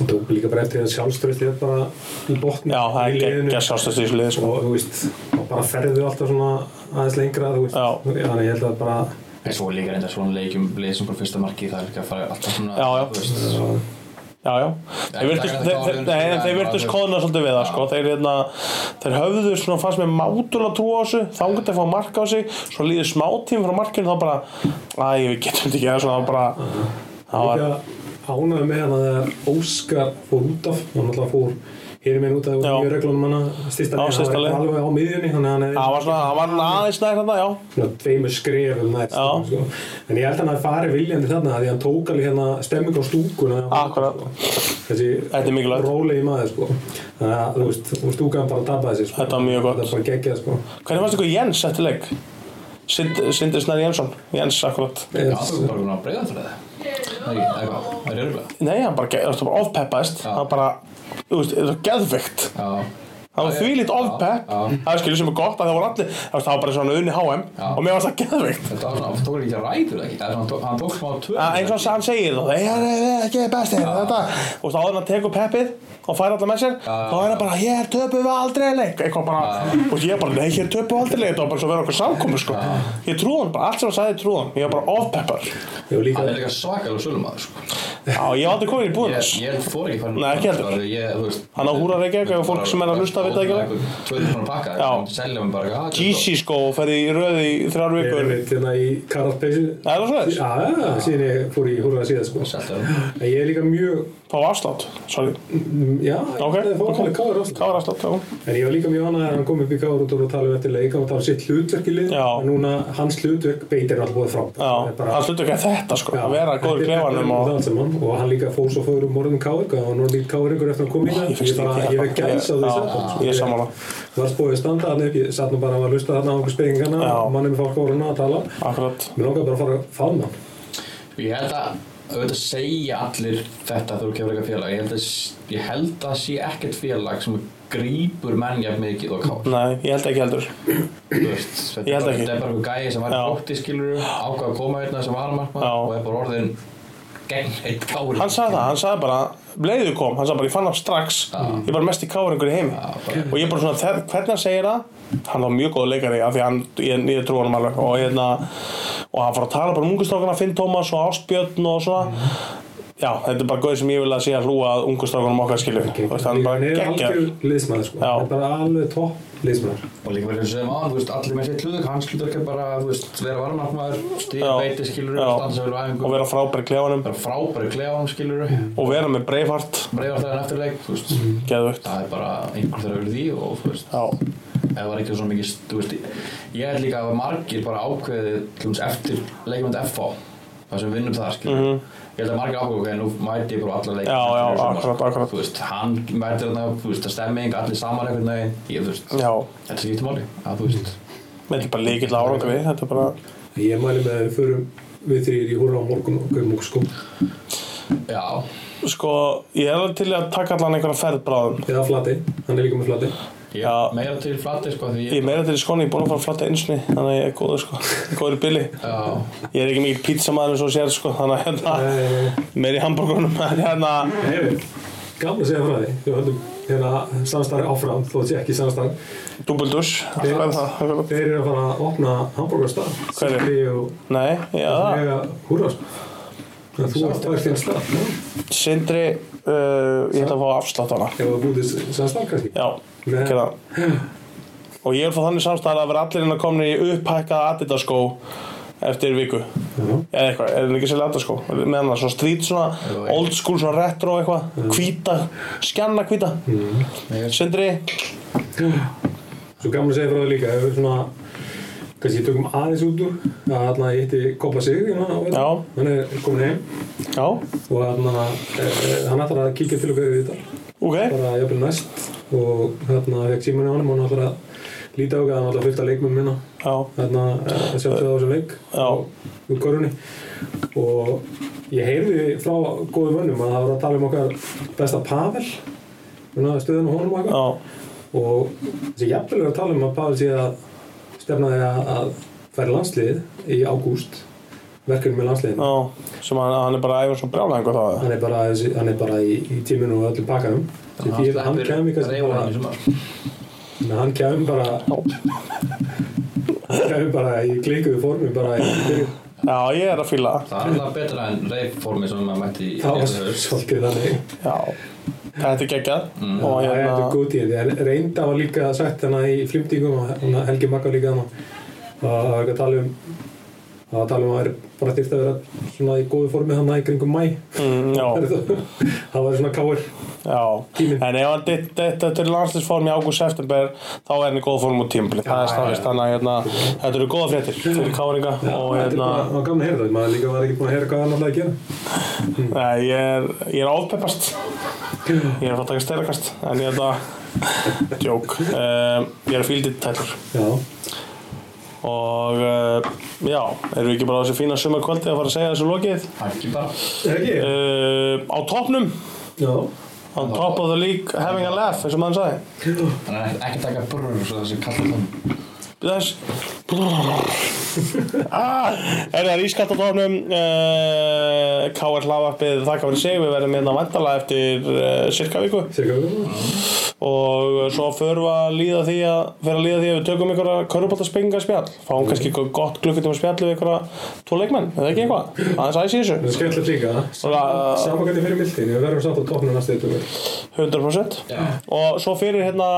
S4: Og tók líka bara eftir að sjálfströðið bara í botni
S2: já, það
S4: í
S2: er
S4: liðinu.
S2: ekki að sjálfstæðst í þessu liði sko.
S4: og þú veist, og bara ferðu alltaf svona aðeins lengra, þú veist
S2: Já.
S4: þannig ég held að bara
S3: En svo líka reynda svona leikjum leið sem bara fyrsta marki það er líka að fara alltaf svona
S2: Já, já.
S3: þú veist, svo,
S2: já, já,
S3: Ekki
S2: þeir virtust
S3: taka
S2: þeir,
S3: þetta
S2: þeir,
S3: orðin-
S2: nei, en þeir
S3: Nei,
S2: virtust
S3: bara-
S2: kóðna svolítið við það
S3: Já.
S2: sko. þeir, hérna, þeir höfðu svona fannst með mátulega trú á þessu þá getur að fá mark á sig, svo líður smá tím frá markinu þá bara, æ, við getum þetta ekki eða svona bara, það var
S4: líka ánægðu með hann að þegar Óskar fór út af, hann alltaf fór hér minn út af
S2: Já.
S4: mjög reglunum hann styrsta
S2: Já, stysta
S4: hann var
S2: leið.
S4: alveg á miðjunni þannig að hann hefði
S2: það var svona, það var aðeins nær þetta, já
S4: svona tveimur skrefum næst
S2: Já.
S4: sko. en ég held að hann hafi farið viljandi þarna af því að hann tók alveg hérna stemming á stúkuna
S2: Akkúrat.
S4: þessi
S2: Þetta er mikilvægt.
S4: rólegi maður sko. þannig að þú veist, og stúkan bara tapaði sér sko.
S2: Þetta var mjög gott.
S4: þetta var bara geggjað sko.
S2: Hvernig fannst ykkur Jens eftir leik? Sind- Sindri Snær Jensson, Jens akkurat
S3: Já, það er bara svona að breyða fyrir það Það er ekki, það er eitthvað, það er örgulega
S2: Nei, hann bara, ge- þú veist, bara ofpeppaðist
S3: Já.
S2: Hann bara, þú veist, þetta var geðvikt
S3: Já,
S2: Hann var
S3: Já,
S2: þvílít
S3: já.
S2: ofpepp
S3: Já.
S2: Það er skilur sem er gott að það voru allir Það var- það var bara svona unni HM
S3: Já.
S2: Og mér var það geðvikt
S3: þetta var svona, hann tók ekki að ræður ekki Það er svona, hann tók smá tvö
S2: Að Eins og hann segir það Það er ekki bestir þetta Og þá áður en hann tekur peppið og fær allar með sér þá er hann bara, hér töpum við aldrei leik eitthvað bara, og ég bara, nei, hér töpum við aldrei leik þetta var bara svo að vera okkur samkomi, sko ég trú hann bara, allt sem hann sagði trú hann ég var bara ofpeppar
S4: Ég var
S3: Hann
S4: líka
S3: er líka svakalega sölumæður sko.
S2: já, ég var aldrei komin í búin
S3: Ég,
S2: þess
S3: ég fór ekki farin
S2: Nei, ekki heldur.
S3: ég, þú veist
S2: Hann á Húra Reykjavík og fólk sem er að hlusta veit það ekki alveg.
S3: Tvöður svona pakka,
S2: Já.
S3: það selja mér bara eitthvað,
S2: GC sko og ferði í röði í þrjár
S4: Ég
S2: vikur
S4: er mitt hérna í karatpeysu
S2: Það er það svoleiðis?
S4: Já, já, síðan ég fór í húrða síðan sko
S3: Selta hann
S4: En ég er líka mjög,
S2: Fá afslátt, sorry
S4: mm, já,
S2: Ok,
S4: ég fór
S2: ok.
S4: að káður ástæð
S2: Kára afslátt, já
S4: En ég var líka mjög annað að hann kom upp í káður út og tala um eftir leik og tala um sitt hlutverk í lið
S2: Já.
S4: En núna hans hlutverk beitir er alltaf búið frá
S2: Já, það slutur ekki að þetta sko, að vera góður í klefanum og
S4: og hann, og hann líka fór svo fóður um morðum káður og hann var nýtt káður ykkur eftir að koma í það
S2: Ég fékkst ekki
S4: ég veit
S2: hérna.
S4: gæs á því
S2: Já,
S4: satt
S2: ég er sammála.
S4: var spóið að standa hann upp ég satt nú bara að lusta þarna á okkur spengingana
S2: Já.
S4: mannum í fólkórunna að tala
S2: Akkurat
S4: mér langar bara að fara að fána
S3: Ég held að auðvitað segja allir þetta þegar þú kemur eitthvað félag ég held, að, ég held að sé ekkert félag sem grípur menn jafn mikið og kátt
S2: Nei, ég held ekki heldur
S3: Þú veist, þetta
S2: Ég
S3: er
S2: held
S3: bara
S2: ekki.
S3: þetta er bara einhver gæi sem var
S2: Já.
S3: bótti skilur ákvað að koma hérna sem varamarkmann
S2: Já.
S3: og er bara orðin gegn eitt kári
S2: Hann sagði það, hann sagði bara, leiðu kom, hann sagði bara, ég fann hann strax Ég er bara mest í káringur í heimi
S3: Já.
S2: Og ég er bara svona, þe- hvernig hann segir það Hann var mjög góð leikari, af því hann, ég, ég trú hann alveg Og hérna, og hann fór að tala bara um ungustrákana Finn Tómas og Ástbjörn og svona Já, þetta er bara góð sem ég vil að sé að hlúa að ungustrákunum okkar skilju Þú veist, hann er bara
S4: er
S2: geggjör
S4: algjör liðsmaður sko.
S2: Já.
S4: hann er bara alveg topp liðsmaður
S3: og líka verið sem án, þú veist, allir með sér hlutur hans hlutur ekki bara, þú veist, vera varamarkmaður stíða
S2: Já.
S3: beiti skilur,
S2: Já.
S3: standa sem vilja
S2: og
S3: æfingu
S2: vera frábær í klefanum
S3: vera frábæri klefanum skilur
S2: og vera með Braveheart
S3: breyfar það en eftirleik, þú veist
S2: geðvögt
S3: það er bara einhver þeirra verið því og þú veist
S2: já,
S3: eða var ekki svona mikið þú veist, ég held líka að margir bara ákveðið tlums, eftir leikmönd FH það sem við vinnum þar skilur ég held að margir ákveðið ok, nú mæti ég bara á alla leikmönd
S2: Mhm. Já, já, akkurat, akkurat.
S3: þú veist, hann mætir þarna þú veist, það stemming, allir saman einhvern veginn ég, þú veist,
S2: já,
S3: þetta skiptir máli að þú veist
S2: þetta er bara líkill árangur við þetta er bara,
S4: Ég mæli með að við förum við þrýr í húrra á morgun og gömum okkur skó
S3: Já,
S2: sko, ég er alveg til í að taka allan einhverja ferð bráðum
S4: Eða flati, hann er líka með flati
S3: ég
S2: Já.
S3: er meira til flati sko því
S2: ég er meira til í skóni, ég er búin að fara að flatta einsni þannig að ég er góður sko, góður í billi
S3: Já,
S2: ég er ekki mikil pizzamaður eins og þú sér sko þannig að hérna,
S4: Eh,
S2: meiri hambúrgunum en hérna,
S4: Hefur, gaman að segja frá því Við höldum hérna samstarf áfram þó sé ekki samstarf
S2: dúbulduss hvað er það?
S4: Þeir eru að fara að opna hambúrgarstað
S2: Hverjir?
S4: og
S2: Nei, já, það
S4: mega húrra sko Þannig að Þú ert fært þinn stað Ef
S2: Sindri, uh, ég ætla að fá afslátt á hana
S4: það búið samstarf kannski
S2: Já,
S4: Nei.
S2: gera það Og ég er frá þannig samstæðan að vera allir inn að komna í upphækkaða Adidas skó eftir viku eða eitthvað, er það ekki sérlega Adidas skó með hann svona street
S3: Jú,
S2: svona
S3: jú.
S2: old school svona retro eitthvað hvíta, skjanna hvíta
S3: meira
S2: Sindri,
S4: Svo gaman að segja frá því líka, ef við svona kannski tökum aðeins út úr að hérna ég hitti Koppa Sig hérna, á-
S2: Já.
S4: hann er komin heim
S2: já,
S4: og hérna eh, hann ætlar að kíkja til okkar í þetta
S2: ok
S4: bara jafnvel næst og hérna fekk síman í honum og hann ætlar að líta okkar hann ætlar að fylta leikmenn minna
S2: Já,
S4: hérna eh, að sjá það á þessum leik
S2: já,
S4: úr korunni og ég heyrði frá góðum vönnum að það var að tala um okkar besta Pavel svona stöðun og honum og eitthvað
S2: já
S4: og þessi jafnvel er að tala um að Pavel sé að stefna því að, að færi landslið í ágúst verkefni með landsliðinu
S2: Já, sem hann, hann er bara að æfa svo brjálæðingur þá eða?
S4: hann er bara, þessi- hann er bara í, í tíminu og öllum pakkanum því því að hann kæmi kannski
S3: bara
S4: bara menn, hann kæmi bara hann kæmi bara í klinguðu formi bara í byrjun
S2: Já, ég er að fíla það.
S3: Það er alltaf betra en reyformi sem maður mætti í
S4: það var
S3: Reykjavík.
S4: svolítið þannig
S2: Já, þetta er geggjað Og
S4: Það er Mm. þetta
S2: hérna,
S4: góð tíð en reynda var líka sagt hana í flimtingum og hana Helgi Magga líka hana að það var ekki að tala um það var að tala um að það er bara þyrfti að vera svona í góðu formi hana í kringum mæ
S2: mm, já
S4: það var svona káir
S2: Já,
S4: Tíminn.
S2: en ef hann ditt þetta til landslisform í ágúst-september þá er hann í góð form út tímbli það er staðist, þannig að hérna, þetta eru góða fréttir fyrir káringa og
S4: þetta er
S2: hérna,
S4: bara, það var gaman að heyra það maður líka var ekki búin að heyra hvað hann alltaf að gera
S2: nei, ég er ég er ofpeppast ég er að fara að taka steyrakast en ég þetta, djók um, ég er fíldið tællur
S4: já,
S2: og uh, já, erum við ekki bara á þessu fína sumarkvöldi að fara að segja þessu lokið
S3: Ekki bara.
S4: er ekki?
S2: uh, á toppnum
S4: já,
S2: on top of the league, having a laugh eins og maður sagði
S3: Þannig að ekki taka brrrr svo þessi kallar hann.
S2: Bless ah, Er það ískatt á tónum uh, K.R. Hlaðvarpið Þakka fyrir sig, við verðum hérna vandala eftir uh, cirka viku
S4: sér hvað við erum
S2: og svo förum við að líða því að fyrir að líða því að við tökum einhverja körubóltaspinga spjall, fáum kannski einhver gott klukkutíma spjall við einhverja tvo leikmenn, eða ekki eitthvað aðeins æsi í
S4: það
S2: þessu,
S4: er skemmtilegt líka
S2: Svona-
S4: saman hvernig fyrir mildin við verðum samt á toppnum næstu yttur
S2: 100% og svo fyrir hérna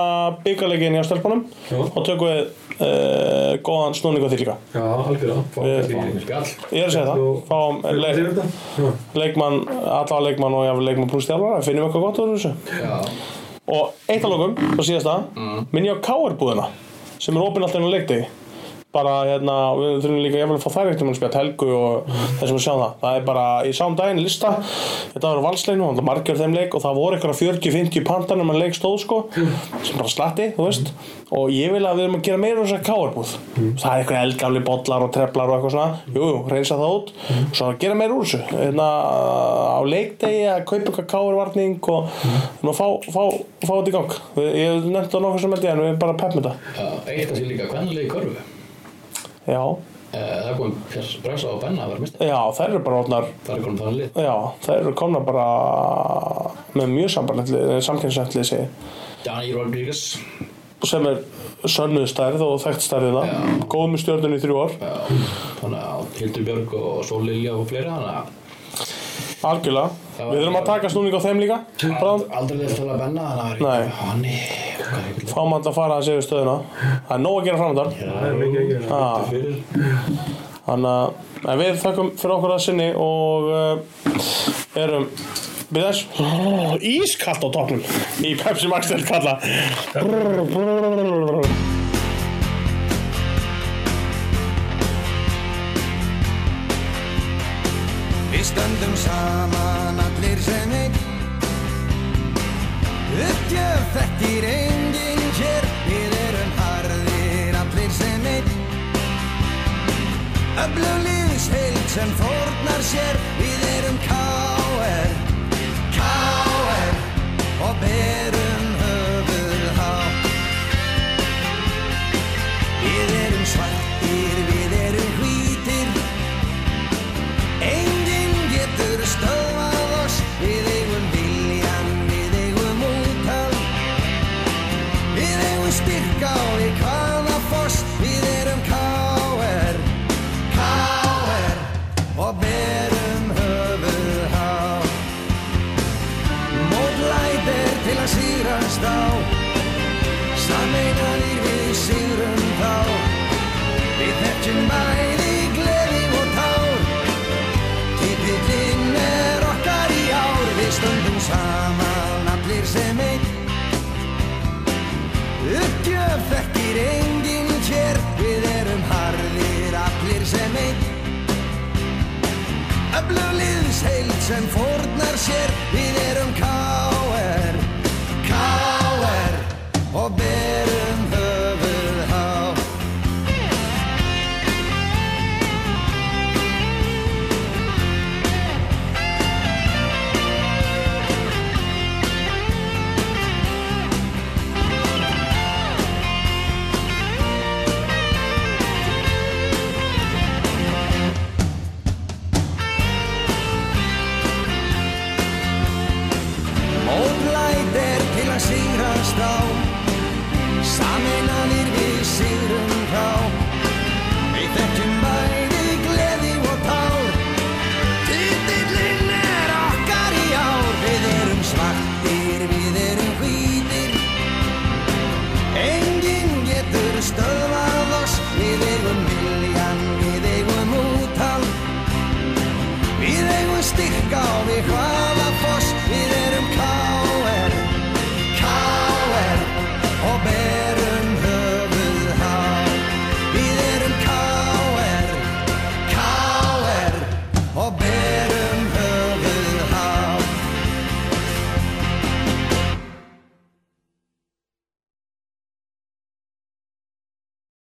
S2: byggarleikin hjá stelpunum
S4: Já.
S2: og tökum við uh, góðan snúning og því líka
S4: já, algjörða fá
S2: Við-
S4: ekki
S3: Ekki spjall.
S2: ég er að segja það,
S4: Nú-
S2: fáum eh, leik
S4: Fyrir þetta? Já.
S2: leikmann, alla leikmann og jafnvel leikmann pluss þjálfara, finnum við eitthvað gott úr þessu
S3: Já.
S2: og eitt að lokum, það síðast það mm. minn ég á K.R. búðina sem er opinn alltaf inn á leikdegi bara hérna, við þurfum líka jafnvel að fá þær eitt um að spjart helgu og þessum við sjáum það það er bara, ég sá um daginn lista þetta var valsleinu, það var margjör þeim leik og það voru eitthvað 40-50 pandan um að leik stóð sko, sem bara slatti, þú veist og ég vil að við erum að gera meira um þess að káarbúð það er eitthvað eldgamli bollar og treflar og eitthvað svona, jú, jú, reynsa það út og svo að gera meira úr þessu hérna, á leikdegi að kaupa eitthvað káarvarning og mm. fá, fá, fá, fá þetta í gang við, ég nefndi það nokkuð sem held ég en við bara peppum þetta
S3: Já, Eitt að sé líka kvennalegi körfu.
S2: já,
S3: Eh, Það kom Pjars Brasa og Benna að vera mistið.
S2: Já, þær eru bara orðnar
S3: Það er komin þannig lið.
S2: Já, þær eru komna bara með mjög eh, sambarlegt samkynnsættlið segi
S3: Dani Rodríguez.
S2: sem er sönnuð stærð og þekkt stærðina
S3: Já.
S2: góð með stjórnun í þrjú ár
S3: Já. Þannig að Hildur Björg og Sól Lilja og fleira. Þannig
S2: algjörlega,
S3: Já,
S2: við þurfum að taka snúning á þeim líka
S3: að
S2: bráðum,
S3: aldrei leitt til að um Benna. Þannig
S2: Nei.
S3: að hann er hvað er ekki-
S2: fáum hann að fara að segja stöðuna það er nóg að gera framöndan
S4: Það er mikið ekki verið.
S2: ah,
S3: fyrir.
S2: þannig að en við þakkum fyrir okkur að sinni og uh, erum við þess oh, ískallt á toppnum í Pepsi Max til kalla brr, brr, brr.
S1: Við stöndum saman allir sem einn Uppgjöf þekkir enginn hér Við erum harðir allir sem einn Öflug liðsheild sem fórnar sér Við erum K.R. K.R. Og berum höfuð hátt Við erum svartir, við erum hvítir Enginn getur stöðvað oss Við eigum viljan, við eigum útal Við eigum styrka og við hvaða foss Við erum K.R. K.R. Og berum höfuð há Mótlæt er til að sírast á Sammeinaðir við sigrum þá Við þekkjum bæði gleði og tár Titillinn er okkar í ár Við stöndum saman allir sem einn Uppgjöf þekkir enginn hér Við erum harðir allir sem einn Öflug liðsheild sem fórnar sér Við